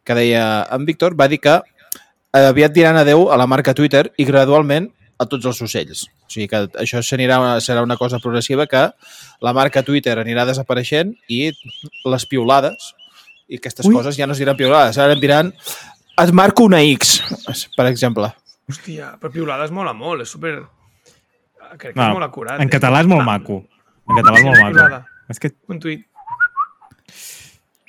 S3: que deia en Víctor, va dir que eh, aviat diran adeu a la marca Twitter i gradualment a tots els ocells. O sigui que això serà una, serà una cosa progressiva que la marca Twitter anirà desapareixent i les piulades i aquestes Ui. coses ja no es diran piulades, ara en diran et marco una X, per exemple.
S7: Hòstia, però piulades mola molt, és super... Crec que
S6: Va,
S7: és molt acurat.
S6: en
S7: eh?
S6: català és molt maco. En català és molt maco.
S7: Piulada.
S6: És que,
S7: Un tuit.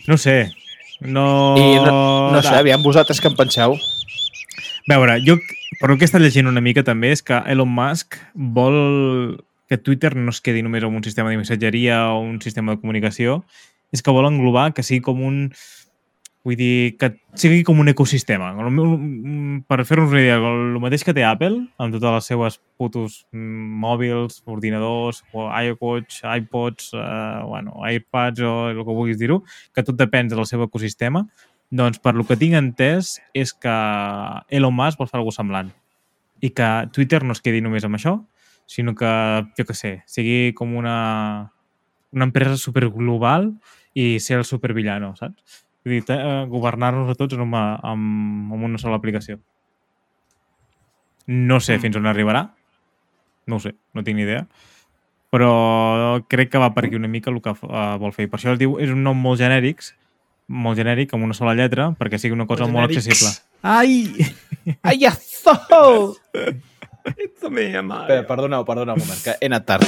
S6: no ho sé, no...
S3: I no, no sé, aviam vosaltres que en penseu.
S6: A veure, jo, però el que he estat llegint una mica també és que Elon Musk vol que Twitter no es quedi només amb un sistema de missatgeria o un sistema de comunicació, és que vol englobar que sigui com un... Vull dir, que sigui com un ecosistema. El meu- mm, Per fer-nos una idea, el mateix que té Apple, amb totes les seues putos mm, mòbils, ordinadors, o iWatch, iPods, eh, bueno, iPads o el que vulguis dir-ho, que tot depèn del seu ecosistema, doncs, per lo que tinc entès, és que Elon Musk vol fer alguna cosa semblant. I que Twitter no es quedi només amb això, sinó que, jo que sé, sigui com una, una empresa superglobal i ser el supervillano, saps? Vull dir, te- eh, governar-nos a tots en una, amb, amb una sola aplicació. No sé fins on arribarà. No ho sé, no tinc ni idea. Però crec que va per aquí una mica el que eh, vol fer. I per això es diu, és un nom molt genèric, molt genèric, amb una sola lletra, perquè sigui una cosa molt
S7: Genèrics.
S6: accessible. Ai!
S3: Ai, azó!
S7: Ets la meva mare.
S3: Espera, perdoneu, perdoneu un moment, que he anat tard.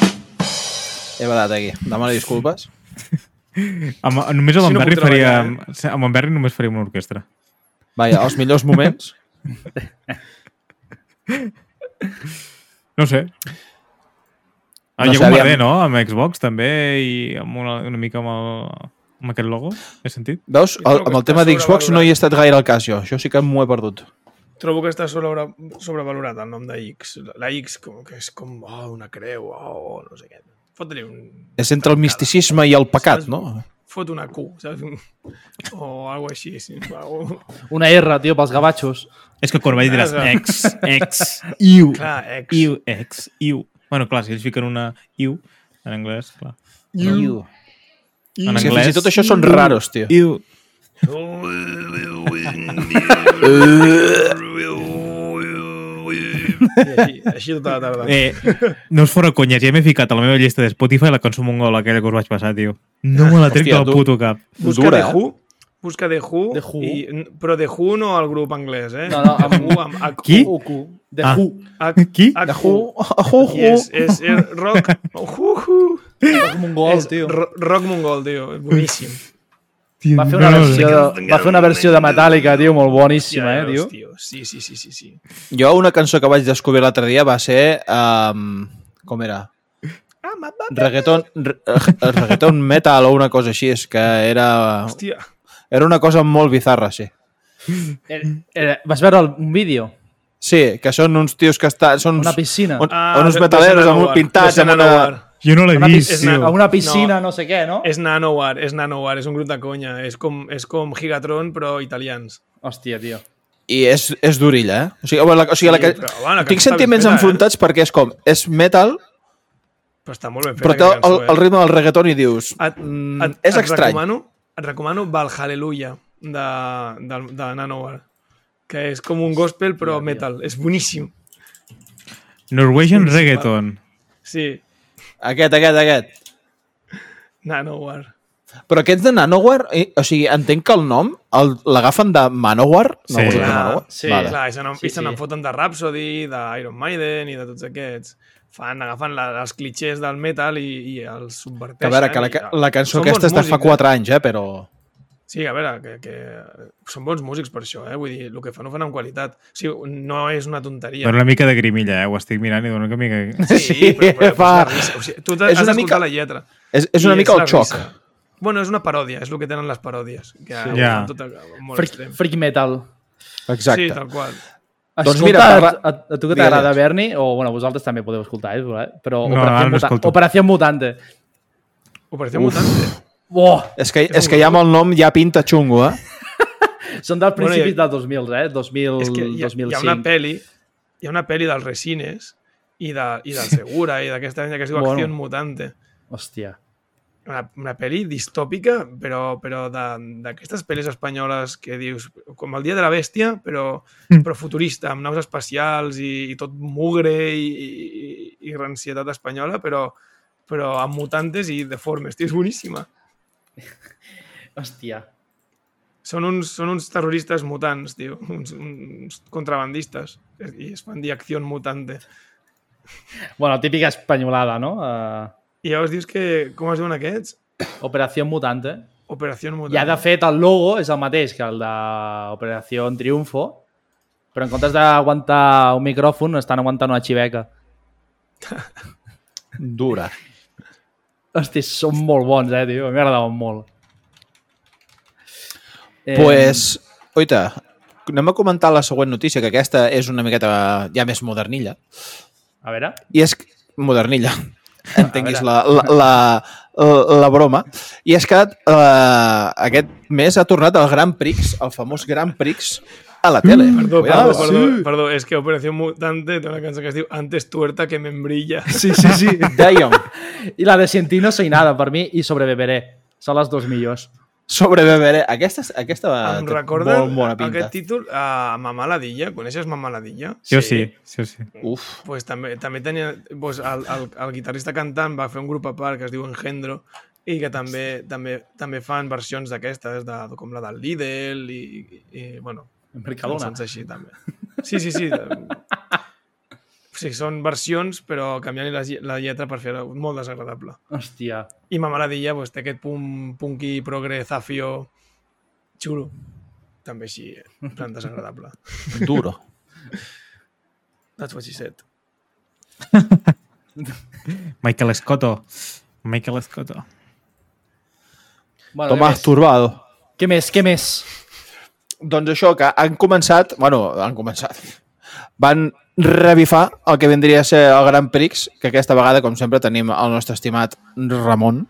S3: He badat aquí. Demano disculpes.
S6: Amb, només amb
S7: Així
S6: en
S7: no
S6: Berri
S7: puc
S6: faria...
S7: treballar,
S6: Amb en Berri només faria una orquestra.
S3: Vaja, els millors moments.
S6: No ho sé. Ah,
S3: No
S6: hi ha
S3: sé,
S6: un
S3: aviam.
S6: merder, no? Amb Xbox també i amb una, una mica amb, el, amb aquest logo, he sentit?
S3: Veus?
S7: Jo
S3: El,
S7: trobo que
S3: amb el
S7: està
S3: tema d'Xbox
S7: sobrevalorat.
S3: no hi he estat gaire al cas, jo. Això sí que m'ho he perdut.
S7: Trobo que està sobre, sobrevalorat el nom de X. La X com que és com oh, una creu, oh, no sé què. Fot-li un...
S3: És entre el misticisme i el pecat, no?
S7: Fot una Q, saps? O alguna així. Sí. Algo...
S4: Una R, tio, pels gavatxos.
S6: És que quan vaig diràs
S7: Ah,
S6: ex, ex, iu,
S7: Clar, X.
S6: iu, ex, iu. Bueno, clar, si ells fiquen una iu en anglès, clar.
S3: Iu.
S6: En
S3: És que fins i tot això són
S6: iu,
S3: raros, tio.
S6: Iu.
S7: I així, així tota la tarda.
S6: Eh, no us fora conyes, ja m'he ficat a la meva llista de Spotify la cançó mongola aquella que us vaig passar, tio. No me la trec
S3: Ah, Hòstia,
S6: del
S3: tu.
S6: puto cap.
S7: Busca
S3: Dura,
S7: The
S3: eh?
S7: Who. Busca The Who.
S4: The Who.
S7: I, n- però The Who no el grup anglès, eh?
S4: No, no, amb
S7: The Who,
S4: U.
S7: amb H.
S6: Qui?
S4: UQ. De
S6: Ah.
S4: ah.
S7: H,
S6: Qui?
S7: H,
S3: De Who. Who,
S7: I és, és, és rock... Hu, hu.
S4: Mongol,
S7: és ro- rock mongol, tio. És boníssim.
S4: Va fer, una
S6: No, no,
S4: versió de, va fer una versió de Metallica, tio, molt boníssima, eh, tio.
S7: tio. Sí, sí, sí, sí, sí.
S3: Jo una cançó que vaig descobrir l'altre dia va ser... Um, com era? Reggaeton, re, eh, reggaeton metal o una cosa així, és que era,
S7: Hòstia.
S3: era una cosa molt bizarra, sí.
S4: Era, era, Eh, vas veure el, un vídeo?
S3: Sí, que són uns tios que estan... Són
S4: Una piscina.
S3: On,
S7: Ah,
S3: on uns
S7: de-
S3: metaleros
S7: de
S3: amb un
S7: Nanowar.
S3: pintats
S7: De
S3: amb una...
S7: Nanowar.
S6: Jo no l'he
S4: Una
S6: vist,
S7: és
S6: tio.
S4: A una piscina,
S7: No.
S4: no, sé què, no?
S7: És Nanowar, és Nanowar, és un grup de conya. És com, és com Gigatron, però italians.
S4: Hòstia, tio.
S3: I és, és durilla, eh? O sigui, bueno, la, o sigui, la que,
S7: Sí, però, bueno, la
S3: tinc
S7: cançó està ben
S3: sentiments
S7: feta, eh?
S3: enfrontats perquè és com, és metal,
S7: Però està molt ben fet.
S3: però té el, el ritme del reggaeton i dius,
S7: eh? Et-
S3: mm, és estrany.
S7: Recomano, et recomano Valhalleluya de, de, de Nanowar, que és com un gospel però metal. És boníssim.
S6: Norwegian
S7: Principal.
S6: Reggaeton.
S7: Sí,
S3: Aquest, aquest, aquest.
S7: Nanowar.
S3: Però aquests de Nanowar, eh, o sigui, entenc que el nom el- l'agafen de Manowar?
S6: Sí.
S3: vols dir de
S7: Clar,
S3: Manowar?
S4: sí,
S3: vale.
S7: Clar, i se n'en
S4: Sí,
S7: sí, sí.
S4: sí.
S7: foten de Rhapsody, d'Iron Maiden i de tots aquests. Fan, agafen la, els clichés del metal i, i els
S3: Que
S7: subverteixen.
S5: eh,
S3: a veure, que la,
S7: i
S3: ca-
S7: tal.
S3: la cançó
S7: Són
S3: aquesta
S7: bons
S3: és de fa
S7: músics, eh?
S3: 4 anys, eh, però...
S5: Sí, a veure, que, que són bons músics per això, eh? Vull dir, el que fan ho fan amb qualitat. O sigui, no és una tonteria.
S6: Dóna una mica de grimilla, eh? Ho estic mirant i dóna una mica...
S5: Sí,
S3: Sí,
S5: però, però,
S3: fa-
S5: és la risa. O sigui, tu has
S3: És una
S5: d'escoltar
S3: mica-
S5: la lletra.
S3: És, és una
S5: I
S3: mica
S5: la
S3: el xoc.
S5: risa. Bueno, és una paròdia, és el que tenen les paròdies. Que sí.
S6: Ja.
S5: tot, molt
S4: Freak,
S5: extrem.
S4: freak metal.
S5: Sí,
S3: Exacte.
S5: tal qual.
S3: Doncs
S4: Escolta,
S3: mira, parla-
S4: a, a, tu que
S3: Digues.
S4: t'agrada, Berni, o bueno, vosaltres també podeu escoltar, eh, voler, però
S6: No, ara
S4: Operació,
S6: no
S4: Muta
S6: escolto.
S4: Operació Mutante.
S5: Operació Mutante.
S4: Oh,
S3: És que, és que ja amb el nom ja pinta xungo, eh?
S4: són dels
S5: Bueno,
S4: principis
S5: ja-
S4: del 2000, eh? 2000,
S5: És que hi ha,
S4: 2005.
S5: hi ha una pel·li hi ha una pel·li dels Resines i, de, i del Segura i d'aquesta venda que es diu
S4: Bueno.
S5: bueno. Acción Mutante.
S4: Hòstia.
S5: Una, una pel·li distòpica, però, però de- d'aquestes pel·lis espanyoles que dius, com el Dia de la Bèstia, però, però futurista, amb naus espacials i, i tot mugre i, i, i rancietat espanyola, però, però amb mutantes i deformes. Tio, és boníssima.
S4: Hòstia.
S5: Són uns, són uns terroristes mutants, tio, uns, uns contrabandistes, i es fan dir Acción Mutante.
S4: Bueno, típica espanyolada, no? Uh,
S5: I llavors dius que, com es diuen aquests?
S4: Operació Mutante.
S5: Operació Mutant.
S4: Ja, de fet, el logo és el mateix que el d'Operació Triunfo, però en comptes d'aguantar un micròfon, estan aguantant una xiveca.
S3: Dura.
S4: Hòstia, són molt bons, eh, tio. A mi M'agradaven molt. Eh,
S3: Pues, oita, anem a comentar la següent notícia, que aquesta és una miqueta ja més modernilla.
S4: A veure.
S3: I és... que- Modernilla. Entenguis la, la, la, la broma. I és que eh, aquest mes ha tornat el Gran Prix, el famós Gran Prix, a la tele.
S7: Mm.
S5: Perdó,
S3: Cuidado,
S5: perdó,
S3: eh?
S5: Ah, perdó, perdó, és que Operació Mutante té una cançó que es diu Antes tuerta que membrilla.
S4: Sí, sí, sí.
S3: Dèiem,
S4: I la de Cientino soy nada per mi i sobrebeberé. Són les dues millors.
S3: sobrebeberé. Aquesta, és- aquesta
S5: Em
S3: té
S5: recorda
S3: molt bona pinta.
S5: aquest títol a Mamaladilla. Coneixes Mamaladilla?
S6: Jo sí, sí, sí.
S3: Uf,
S5: Pues també, també tenia... Pues el, el, el guitarrista cantant va fer un grup a part que es diu Engendro i que també, també, també fan versions d'aquestes, de, com la del Lidl i, i, i bueno,
S4: Em Mercadona.
S5: Cançons així, també. Sí, sí, sí. o sigui, són versions, però canviant la, lle- la lletra per fer-ho molt desagradable.
S4: Hòstia.
S5: I Mamaladilla pues, té aquest punt punky, progre, zafio, xulo. També així, eh? en plan desagradable.
S3: duro.
S5: That's what she said.
S6: Michael Scotto. Michael Scotto.
S4: Bueno,
S3: Tomàs
S4: què més?
S3: Turbado.
S4: Què més? Què més?
S3: Doncs això, que han començat... Bueno, han començat. Van revifar el que vindria a ser el Gran Prix, que aquesta vegada, com sempre, tenim el nostre estimat Ramon,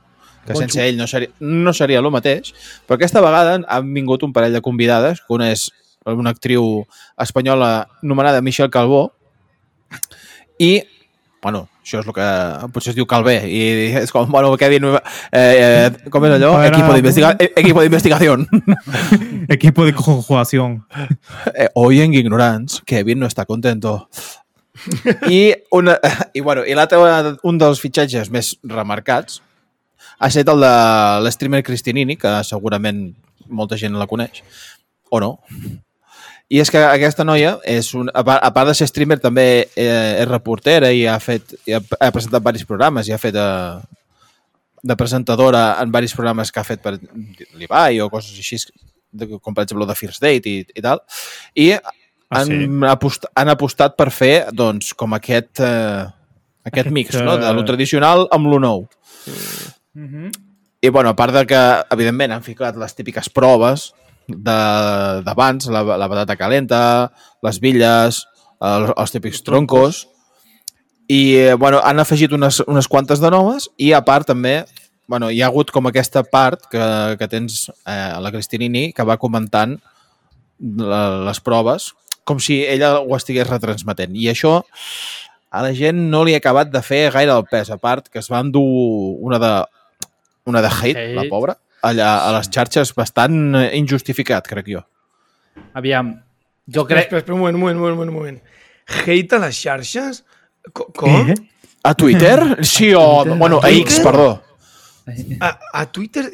S3: que
S4: Ramon
S3: sense ell no seria, no seria el mateix, però aquesta vegada han vingut un parell de convidades, que una és una actriu espanyola anomenada Michelle Calvó, i, bueno, això és el que potser es diu Calvé, i és com, bueno, Kevin, eh, eh, com és allò?
S6: Bueno,
S3: Equipo de investiga- eh, equipo de investigación.
S6: Equipo de conjugación.
S3: Eh, hoy en Ignorants, Kevin no està contento. I, una, i, bueno, i l'altre, un dels fitxatges més remarcats ha estat el de l'streamer Cristinini, que segurament molta gent la coneix, o no. I és que aquesta noia, és un, a, part, a part de ser streamer, també eh, és reportera i ha, fet, i ha, ha presentat diversos programes i ha fet eh, de presentadora en diversos programes que ha fet per l'Ibai o coses així, de- com per exemple el de First Date i, i tal. I
S6: Ah,
S3: han,
S6: sí?
S3: apostat, han apostat per fer, doncs, com aquest, eh, aquest,
S6: Aquest,
S3: mix, no? De
S6: eh,
S3: lo tradicional amb lo nou. I, bueno, a part de que, evidentment, han ficat les típiques proves de- d'abans, la, la patata calenta, les billes, el, els típics troncos, i, eh, bueno, han afegit unes, unes quantes de noves i, a part, també, bueno, hi ha hagut com aquesta part que, que tens eh, la Cristinini que va comentant la, les proves com si ella ho estigués retransmetent. I això a la gent no li ha acabat de fer gaire el pes, a part que es va endur una de, una de hate,
S4: Hate.
S3: hate. la pobra, allà a les xarxes bastant eh, injustificat, crec jo.
S4: Aviam. Jo crec...
S5: Espera, espera, espera, un moment, un moment, un moment, un moment. Hate a les xarxes? Co com?
S6: Eh?
S3: A Twitter? Sí, o... Bueno, a X, perdó.
S5: A, a Twitter?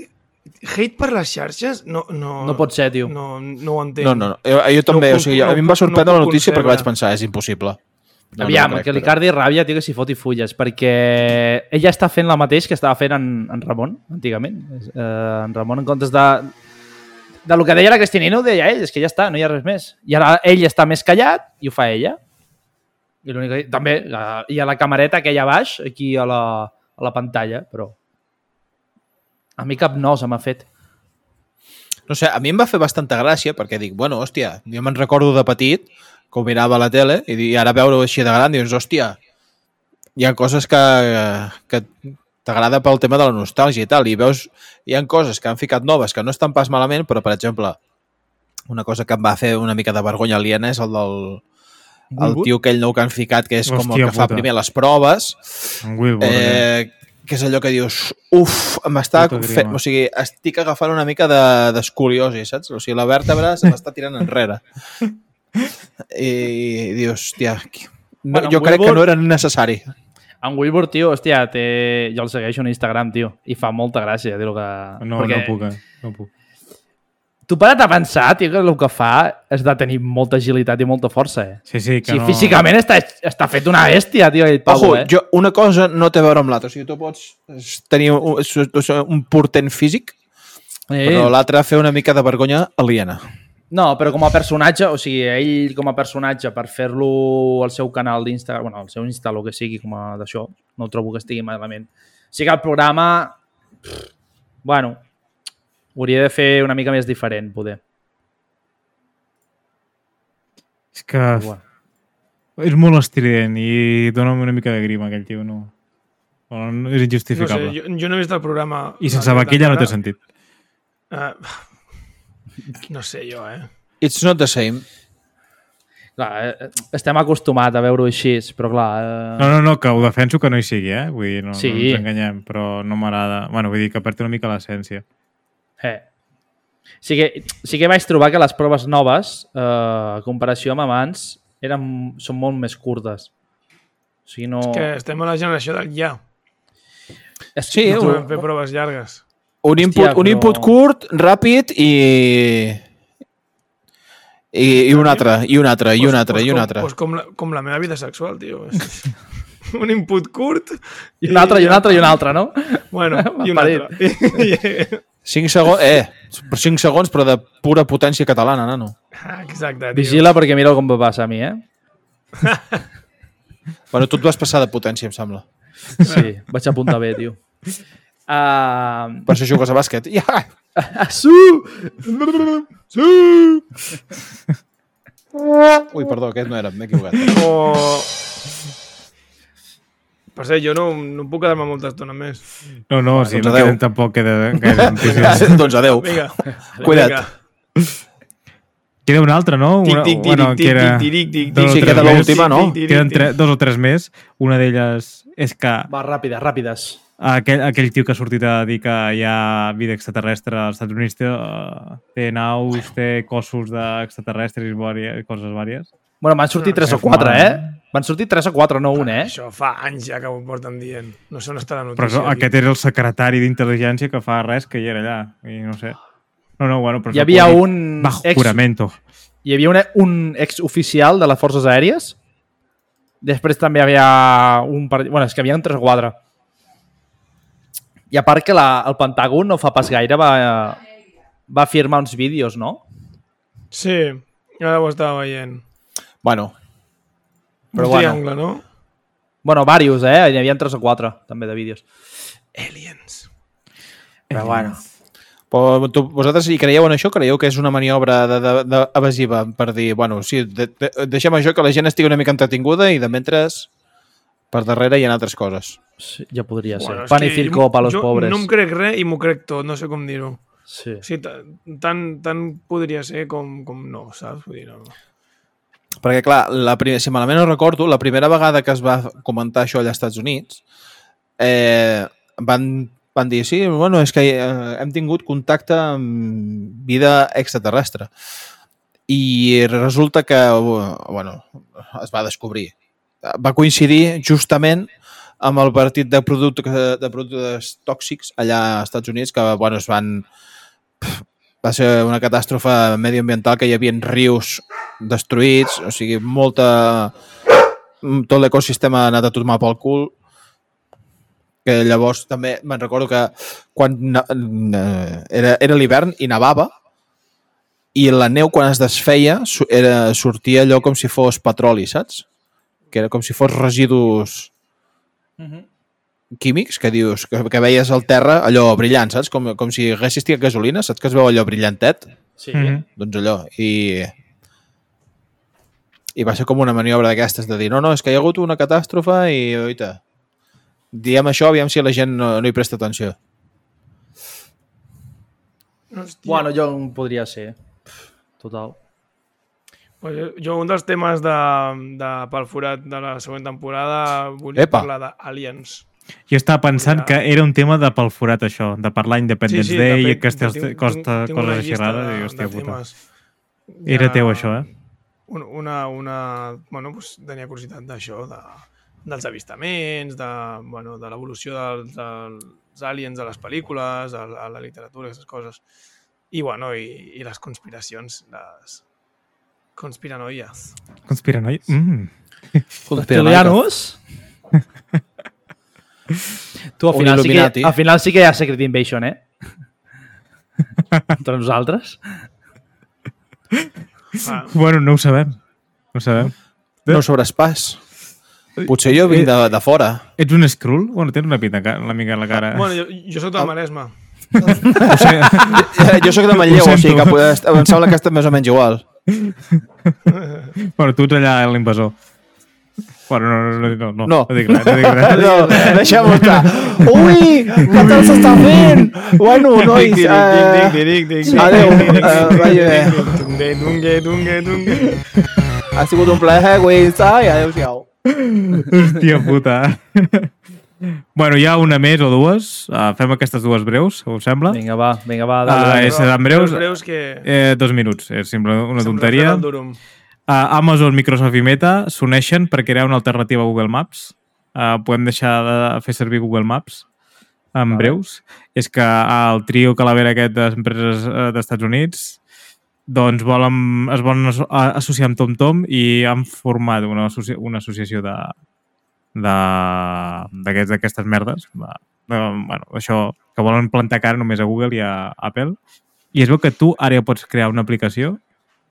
S5: Hate per les xarxes? No, no,
S4: No pot ser, tio.
S5: No, no ho entenc.
S3: No, no, no. Jo, jo també,
S5: No ho
S3: o sigui,
S5: puc-
S3: a mi em va
S5: no ho puc
S3: sorprendre la notícia
S5: concebre.
S3: perquè vaig pensar, és impossible. No, no
S4: Aviam,
S3: ho crec,
S4: que li
S3: però-
S4: cardi ràbia, tio, que s'hi foti fulles, perquè ella està fent la mateix que estava fent en, en Ramon, antigament. Eh, en Ramon, en comptes de de lo que deia la Cristinina ho deia ell, és que ja està, no hi ha res més. I ara ell està més callat i ho fa ella. I l'únic que... També la, hi ha la camereta que hi ha baix, aquí a la, a la pantalla, però... A mi cap nosa m'ha fet.
S3: No sé, a mi em va fer bastanta gràcia perquè dic, bueno, hòstia, jo me'n recordo de petit que ho mirava a la tele i, di- i ara veure-ho així de gran dius, hòstia, hi ha coses que, que t'agrada pel tema de la nostàlgia i tal, i veus, hi han coses que han ficat noves que no estan pas malament, però, per exemple, una cosa que em va fer una mica de vergonya aliena és el del el
S6: Wilbur?
S3: tio aquell nou que han ficat, que és com el
S6: Hòstia
S3: que fa
S6: puta.
S3: primer les proves,
S6: En Wilbur, eh...
S3: eh, que és allò que dius, uf, m'està
S6: Puta
S3: fe-
S6: grima.
S3: o sigui, estic agafant una mica de- d'escoliosi, de, saps? O sigui, la vèrtebra se m'està tirant enrere. I, dius, hòstia, qui- no,
S4: Bueno,
S3: jo crec
S4: Wilbur-
S3: que no era necessari.
S4: En Wilbur, tio, hòstia, té... jo el segueixo a Instagram, tio, i fa molta gràcia dir-ho que...
S6: No, Perquè... no puc, eh? no puc.
S4: Tu para't a pensar, tio, que el que fa és de tenir molta agilitat i molta força, eh?
S6: Sí, sí, que
S4: Sí,
S6: no...
S4: físicament està, està fet una bèstia, tio, el Pau,
S3: Ojo,
S4: eh?
S3: jo, una cosa no té a veure amb l'altra. O sigui, tu pots tenir un, un portent físic,
S4: eh,
S3: però l'altre fer una mica de vergonya aliena.
S4: No, però com a personatge, o sigui, ell com a personatge, per fer-lo al seu canal d'Instagram, bueno, al seu Insta, el que sigui, com a d'això, no trobo que estigui malament. O sigui que el programa, pff, bueno, ho hauria de fer una mica més diferent, poder.
S6: És que
S4: Però Bueno.
S6: és molt estrident i dóna'm una mica de grima, aquell tio, no... Bueno, no
S5: No
S6: és
S5: sé,
S6: injustificable.
S5: jo, jo no he vist el programa...
S6: I sense vaquilla no té sentit.
S5: Eh, no sé jo, eh?
S3: It's not the same.
S4: Clar, eh, estem acostumats a veure-ho així, però clar... Eh,
S6: No, no, no, que ho defenso que no hi sigui, eh? Vull dir, no,
S4: Sí.
S6: no ens enganyem, però no m'agrada. Bueno, vull dir que perd una mica l'essència.
S4: Eh. Sí que, sí que vaig trobar que les proves noves, eh, a comparació amb abans, eren, són molt més curtes. O sigui, no...
S5: Que estem a la generació del ja.
S4: És,
S3: Sí,
S5: No
S3: un-
S5: podem fer proves llargues.
S3: Un input,
S4: Hòstia,
S3: un
S4: però-
S3: input curt, ràpid i... I, i un altre, i un altre, i un altre, i un altre.
S5: Pues com, la, com la meva vida sexual, tio. És- un input curt...
S4: I un altre, i un altre, i un altre, no?
S5: Bueno, i un
S4: Parit.
S5: altre. I-
S3: 5 segons, eh, per 5 segons, però de pura potència catalana, nano.
S5: Ah, Exacte, tio.
S4: Vigila perquè mira com va passar a mi, eh?
S3: Bueno, tu et vas passar de potència, em sembla.
S4: Sí, vaig apuntar bé, tio. Uh,
S3: Per això jugues a bàsquet. Ja!
S4: su!
S3: Ui, perdó, aquest no era, m'he equivocat.
S5: O... Per ser, jo no, no puc quedar-me molta estona més.
S6: No, no, o sigui,
S3: doncs
S6: no
S3: adeu.
S6: queden tampoc queda gaire entusiasme.
S3: doncs adeu.
S5: Vinga.
S3: Cuida't.
S5: Vinga.
S6: Queda un altre, no?
S5: Tic,
S6: Una,
S5: tic, tic,
S6: bueno,
S5: tic,
S6: que era...
S5: tic, tic, tic,
S6: dos o
S3: Sí,
S6: tres
S3: queda
S6: més.
S3: l'última, no?
S5: Tic, tic,
S6: Queden
S5: tic,
S6: tre, dos o tres més. Una d'elles és que
S4: Va, ràpides, ràpides.
S6: aquell, aquell tio que ha sortit a dir que hi ha vida extraterrestre als Estats Units té, eh, té naus, té cossos d'extraterrestres i vàries- coses vàries.
S4: Bueno, m'han sortit 3 o 4, eh? M'han sortit 3 o 4, no un, eh?
S5: Això fa anys ja que ho porten dient. No sé on està la
S6: Però
S5: notícia.
S6: això, aquest era el secretari d'intel·ligència que fa res que hi era allà. I no sé. No, no, bueno, però...
S4: Hi
S6: això
S4: havia
S6: ho dic
S4: un
S5: Mm,
S6: Bajo
S4: ex-
S6: juramento.
S4: hi havia una, un exoficial de les forces aèries. Després també hi havia un... par- Bueno, és que hi havia un 3 o 4. I a part que la, el Pentàgon no fa pas gaire va, va firmar uns vídeos, no?
S5: Sí, ara ho estava veient.
S3: Bueno,
S5: Però
S4: Però
S5: un
S4: bueno.
S5: triangle, no?
S4: Bueno, varios, eh? Hi havia 3 o 4 també de vídeos. Eh,
S5: Aliens.
S4: Però bueno.
S3: però tu, vosaltres hi creieu en això? Creieu que és una maniobra de, de, de evasiva per dir, bueno, sí, de, de, deixem això que la gent estigui una mica entretinguda i de mentre per darrere hi ha altres coses.
S4: Sí, ja podria ser.
S5: Bueno,
S4: Bueno,
S5: és
S4: Pan i
S5: que
S4: circo
S5: jo-
S4: pa los
S5: jo
S4: pobres.
S5: No em crec res i m'ho crec tot, no sé com dir-ho.
S4: Sí.
S5: O sigui, ta- tant, tant podria ser com, com no, saps? Vull dir, no.
S3: Perquè, clar, la primera, si malament no recordo, la primera vegada que es va comentar això allà als Estats Units, eh, van, van dir, sí, bueno, és que eh, hem tingut contacte amb vida extraterrestre. I resulta que, bueno, es va descobrir. Va coincidir justament amb el partit de productes, de productes tòxics allà als Estats Units, que, bueno, es van... Va ser una catàstrofe medioambiental que hi havia rius destruïts, o sigui, molta... mm, tot l'ecosistema ha anat a tomar pel cul, que llavors mm, també me'n recordo que quan na- eh, era, era l'hivern i nevava, i la neu quan es desfeia su- era, sortia allò com si fos petroli, saps? Que era com si fos residus químics que dius que, que veies al terra allò brillant, saps? Com, com si haguessis tirat gasolina, saps que es veu allò brillantet?
S4: Sí.
S6: Mhm.
S3: Doncs allò. I, i va ser com una maniobra d'aquestes de dir no, no, és que hi ha hagut una catàstrofe i oita, diem això, aviam si la gent no, no hi presta atenció.
S5: Hòstia.
S4: Bueno, jo en podria ser. Pff, Total.
S5: Pues jo- jo un dels temes de, de pel forat de la següent temporada vull
S3: Epa.
S5: parlar d'Aliens.
S6: Jo estava pensant
S5: Ja.
S6: que era un tema de pel forat, això, de parlar Independence
S5: de
S6: Day i
S5: fet,
S6: aquestes
S5: tinc- tinc-
S6: costa,
S5: tinc una
S6: coses així
S5: llista
S6: rares.
S5: de-
S6: I, hòstia
S5: de
S6: puta.
S5: temes.
S6: Era
S5: Ja-
S6: teu, això, eh?
S5: un- una, una... Bueno, doncs, tenia curiositat d'això, de, dels avistaments, de, bueno, de l'evolució dels, dels aliens a les pel·lícules, a, la- a la literatura, aquestes coses. I, bueno, i, i les conspiracions, les conspiranoies.
S6: Conspiranoi. Mm.
S4: Julianos? tu, al
S3: Un
S4: final, sí
S3: Illuminati.
S4: que, al final sí que hi ha Secret Invasion, eh? Entre nosaltres.
S5: Ah,
S6: Bueno, no ho sabem. No ho sabem.
S3: No sobre espàs. Potser jo vinc de, de fora.
S6: Ets un Skrull? Bueno, tens una pinta, ca- una mica a la cara.
S5: bueno, jo, jo soc de Maresme.
S3: Jo sóc de Manlleu,
S6: Ho
S3: o sigui
S6: sento.
S3: que poder, em sembla que està més o menys igual.
S6: bueno tu ets allà l'invasor. Bueno, no, no, no, no,
S3: No.
S6: no dic res, no dic res.
S3: Eh, No, deixem-ho estar. Ui, què tal s'està fent? Bueno, nois, eh, adeu, eh, vagi bé.
S5: Dungue, dungue, dungue, dungue.
S3: ha sigut un plaer començar i adeu-siau.
S6: Hòstia puta. bueno, hi ha una més o dues. Uh, fem aquestes dues breus, si us sembla.
S4: Vinga, va, vinga, va. Dale,
S6: Ah,
S4: dale.
S6: és en breus.
S5: Els breus que...
S6: Eh, dos minuts, és sempre una tonteria.
S5: Sembla el Durum.
S6: Uh, Amazon, Microsoft i Meta s'uneixen per crear una alternativa a Google Maps. Uh, podem deixar de fer servir Google Maps en breus. És que el trio calavera aquest d'empreses eh, d'Estats Units doncs volen, es volen asso- a- associar amb TomTom i han format una, associ una associació de de- d'aquests- d'aquestes merdes. De, de, bueno, això que volen plantar cara només a Google i a Apple. I es veu que tu ara ja pots crear una aplicació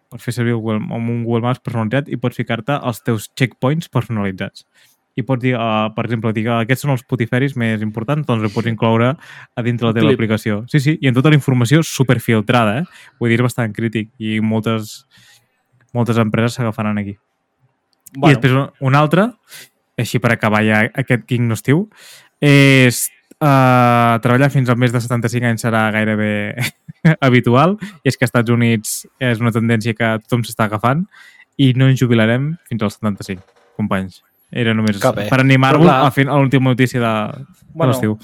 S6: pots fer servir Google, amb un Google Maps personalitzat i pots ficar-te els teus checkpoints personalitzats. I pots dir, uh, per exemple, dir que aquests són els potiferis més importants, doncs ho pots incloure a dintre la teva
S4: Clip.
S6: aplicació. Sí, sí, i amb tota la informació superfiltrada, eh? Vull dir, és bastant crític i moltes, moltes empreses s'agafaran aquí. Bueno. I després un- un altre, així per acabar ja aquest King no estiu, és uh, treballar fins al mes de 75 anys serà gairebé habitual i és que als Estats Units és una tendència que tothom s'està agafant i no ens jubilarem fins als 75, companys. Era només
S3: Que bé.
S6: per animar-vos
S4: Però la-
S6: a, fer- a l'última notícia de, bueno, de
S4: Bueno,
S6: l'estiu.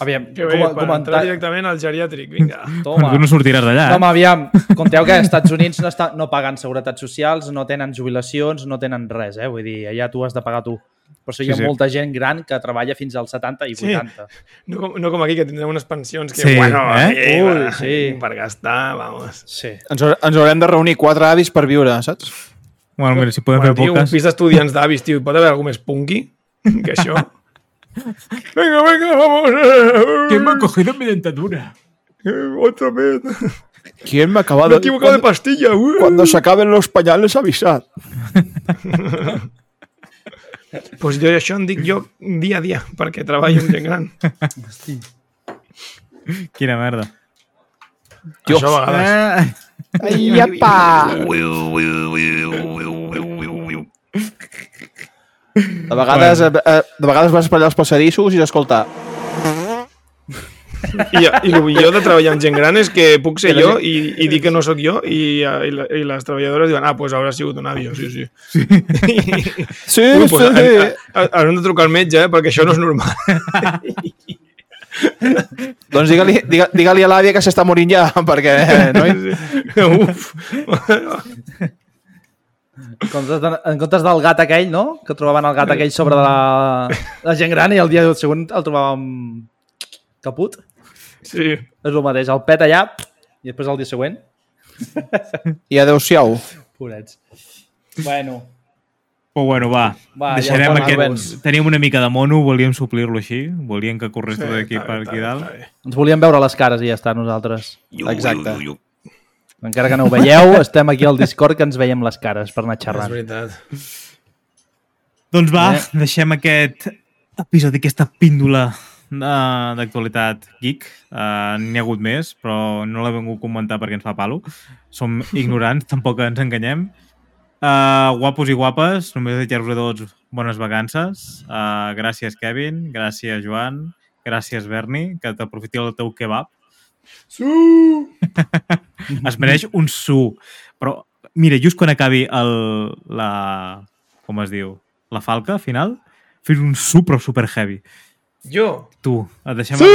S4: Aviam,
S5: Que
S4: com,
S5: bé, per entrar
S4: comentar...
S5: directament al geriàtric, vinga.
S6: Bueno, tu no sortiràs d'allà,
S4: No, home,
S6: eh?
S4: aviam, compteu que als Estats Units no, està, no paguen seguretat socials, no tenen jubilacions, no tenen res, eh? Vull dir, allà tu has de pagar tu. Però sí, hi ha
S6: Sí, sí.
S4: molta gent gran que treballa fins als 70 i
S5: Sí.
S4: 80.
S5: No com, no com aquí, que tindrem unes pensions que,
S6: Sí,
S5: bueno,
S6: eh?
S5: eh?
S4: Ui,
S5: Ui,
S4: sí.
S5: sí. per gastar, vamos.
S4: Sí.
S3: Ens, haure- ens haurem de reunir quatre avis per viure, saps?
S6: Bueno, mira, si podem
S5: Bueno,
S6: fer
S5: tio, un
S6: poques...
S5: pis d'estudiants d'avis, tio, pot haver algú més punky que això? venga, venga, vamos.
S6: Que m'ha cogido mi dentadura.
S5: Eh, Otra vez. Me
S3: ¿Quién me acaba
S5: he equivocado de pastilla. uh.
S3: se acaben los pañales avisad.
S5: Pues jo això en dic jo dia a dia, perquè treballo amb gent gran.
S6: Quina merda.
S5: Dios. Això a vegades.
S6: Eh,
S3: De vegades, bueno. eh, de vegades vas per allà als passadissos i escolta,
S5: I, I el millor de treballar amb gent gran és que puc ser jo i, i dir que no sóc jo i, eh, i, la- i les treballadores diuen, ah, doncs pues haurà sigut un avi, sí, sí. sí.
S3: sí,
S5: Ui,
S3: sí,
S5: pues,
S3: sí,
S5: ha- ha- ha- Haurem de trucar al metge, eh, perquè això no és normal.
S3: Doncs digue-li digue, digue a l'àvia que s'està morint ja, perquè... eh, No? hi-
S5: Uf.
S4: En comptes, de, en comptes del gat aquell, no? Que trobaven el gat aquell sobre de la, la gent gran i el dia següent el trobàvem caput.
S5: Sí.
S4: És el mateix, el pet allà i després el dia següent,
S3: I adeu-siau.
S4: pobrets. Bueno,
S6: Però bueno, va,
S4: Va,
S6: va
S4: ja
S6: deixarem
S4: està,
S6: aquest...
S4: Rubens.
S6: Teníem una mica de mono, volíem suplir-lo així, volíem que corres tot aquí
S5: Està bé,
S6: per
S5: està
S6: aquí
S5: bé,
S6: dalt.
S5: està bé.
S4: ens volíem veure les cares i ja està, nosaltres.
S3: Exacte.
S4: Encara que no ho veieu, estem aquí al Discord que ens veiem les cares per anar
S5: És
S4: xerrant.
S5: veritat.
S6: Doncs va,
S4: Eh?
S6: deixem aquest episodi, aquesta píndola de- d'actualitat geek. Uh, N'hi ha hagut més, però no l'he vingut a comentar perquè ens fa palo. Som ignorants, tampoc ens enganyem. Uh, guapos i guapes, només desitjar-vos a tots bones vacances. Uh, gràcies, Kevin. Gràcies, Joan. Gràcies, Berni, que t'aprofiti el teu kebab. Su! es mereix un su. Però, mira, just quan acabi el, la... com es diu? la falca final, fes un su però super heavy.
S5: Jo?
S6: Tu, et deixem... Sí!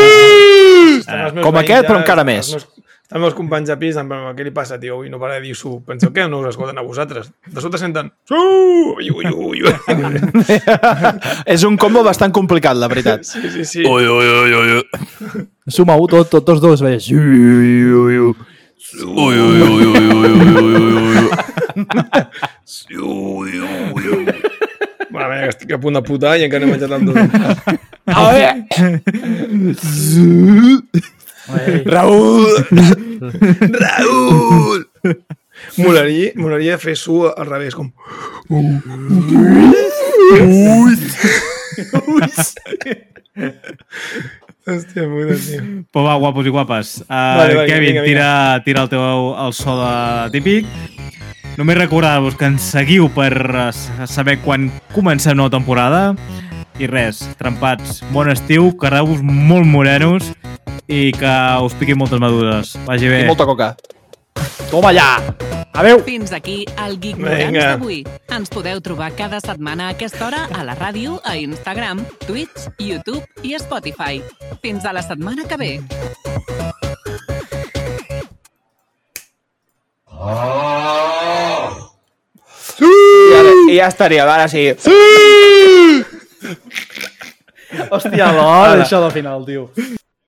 S5: Estan els meus
S3: Com
S5: veïns
S3: aquest, però
S5: ja,
S3: encara
S5: estan
S3: més.
S5: Els meus, estan els meus companys de pis, estan pensant, què li passa, tio? Avui no para de dir su. Penseu que no us escolten a vosaltres. De sota senten su! Ui, ui, ui, ui.
S3: És un combo bastant complicat, la veritat.
S5: Sí, sí, sí.
S4: Suma-ho tot, tot, tots dos veus.
S5: Mare meva, que estic a punt de putar i encara no he menjat amb tot. Molaria, molaria fer su al revés, com... Hòstia puta, tio.
S6: Però va, guapos i guapes. Uh,
S5: Vale, vale,
S6: Kevin,
S5: vinga, vinga.
S6: tira, tira el teu el so de típic. Només recordar-vos que ens seguiu per eh, s- saber quan comencem nova temporada. I res, trempats, bon estiu, que vos molt morenos i que us piquin moltes madures. Vagi bé.
S3: I molta coca.
S4: Toma allà! Adeu!
S1: Fins aquí el Geek
S5: Vinga.
S1: d'avui. Ens podeu trobar cada setmana a aquesta hora a la ràdio, a Instagram, Twitch, YouTube i Spotify. Fins a la setmana que ve.
S3: I, ara, i ja estaria, ara sí.
S4: Hòstia, l'hora, això del final, tio.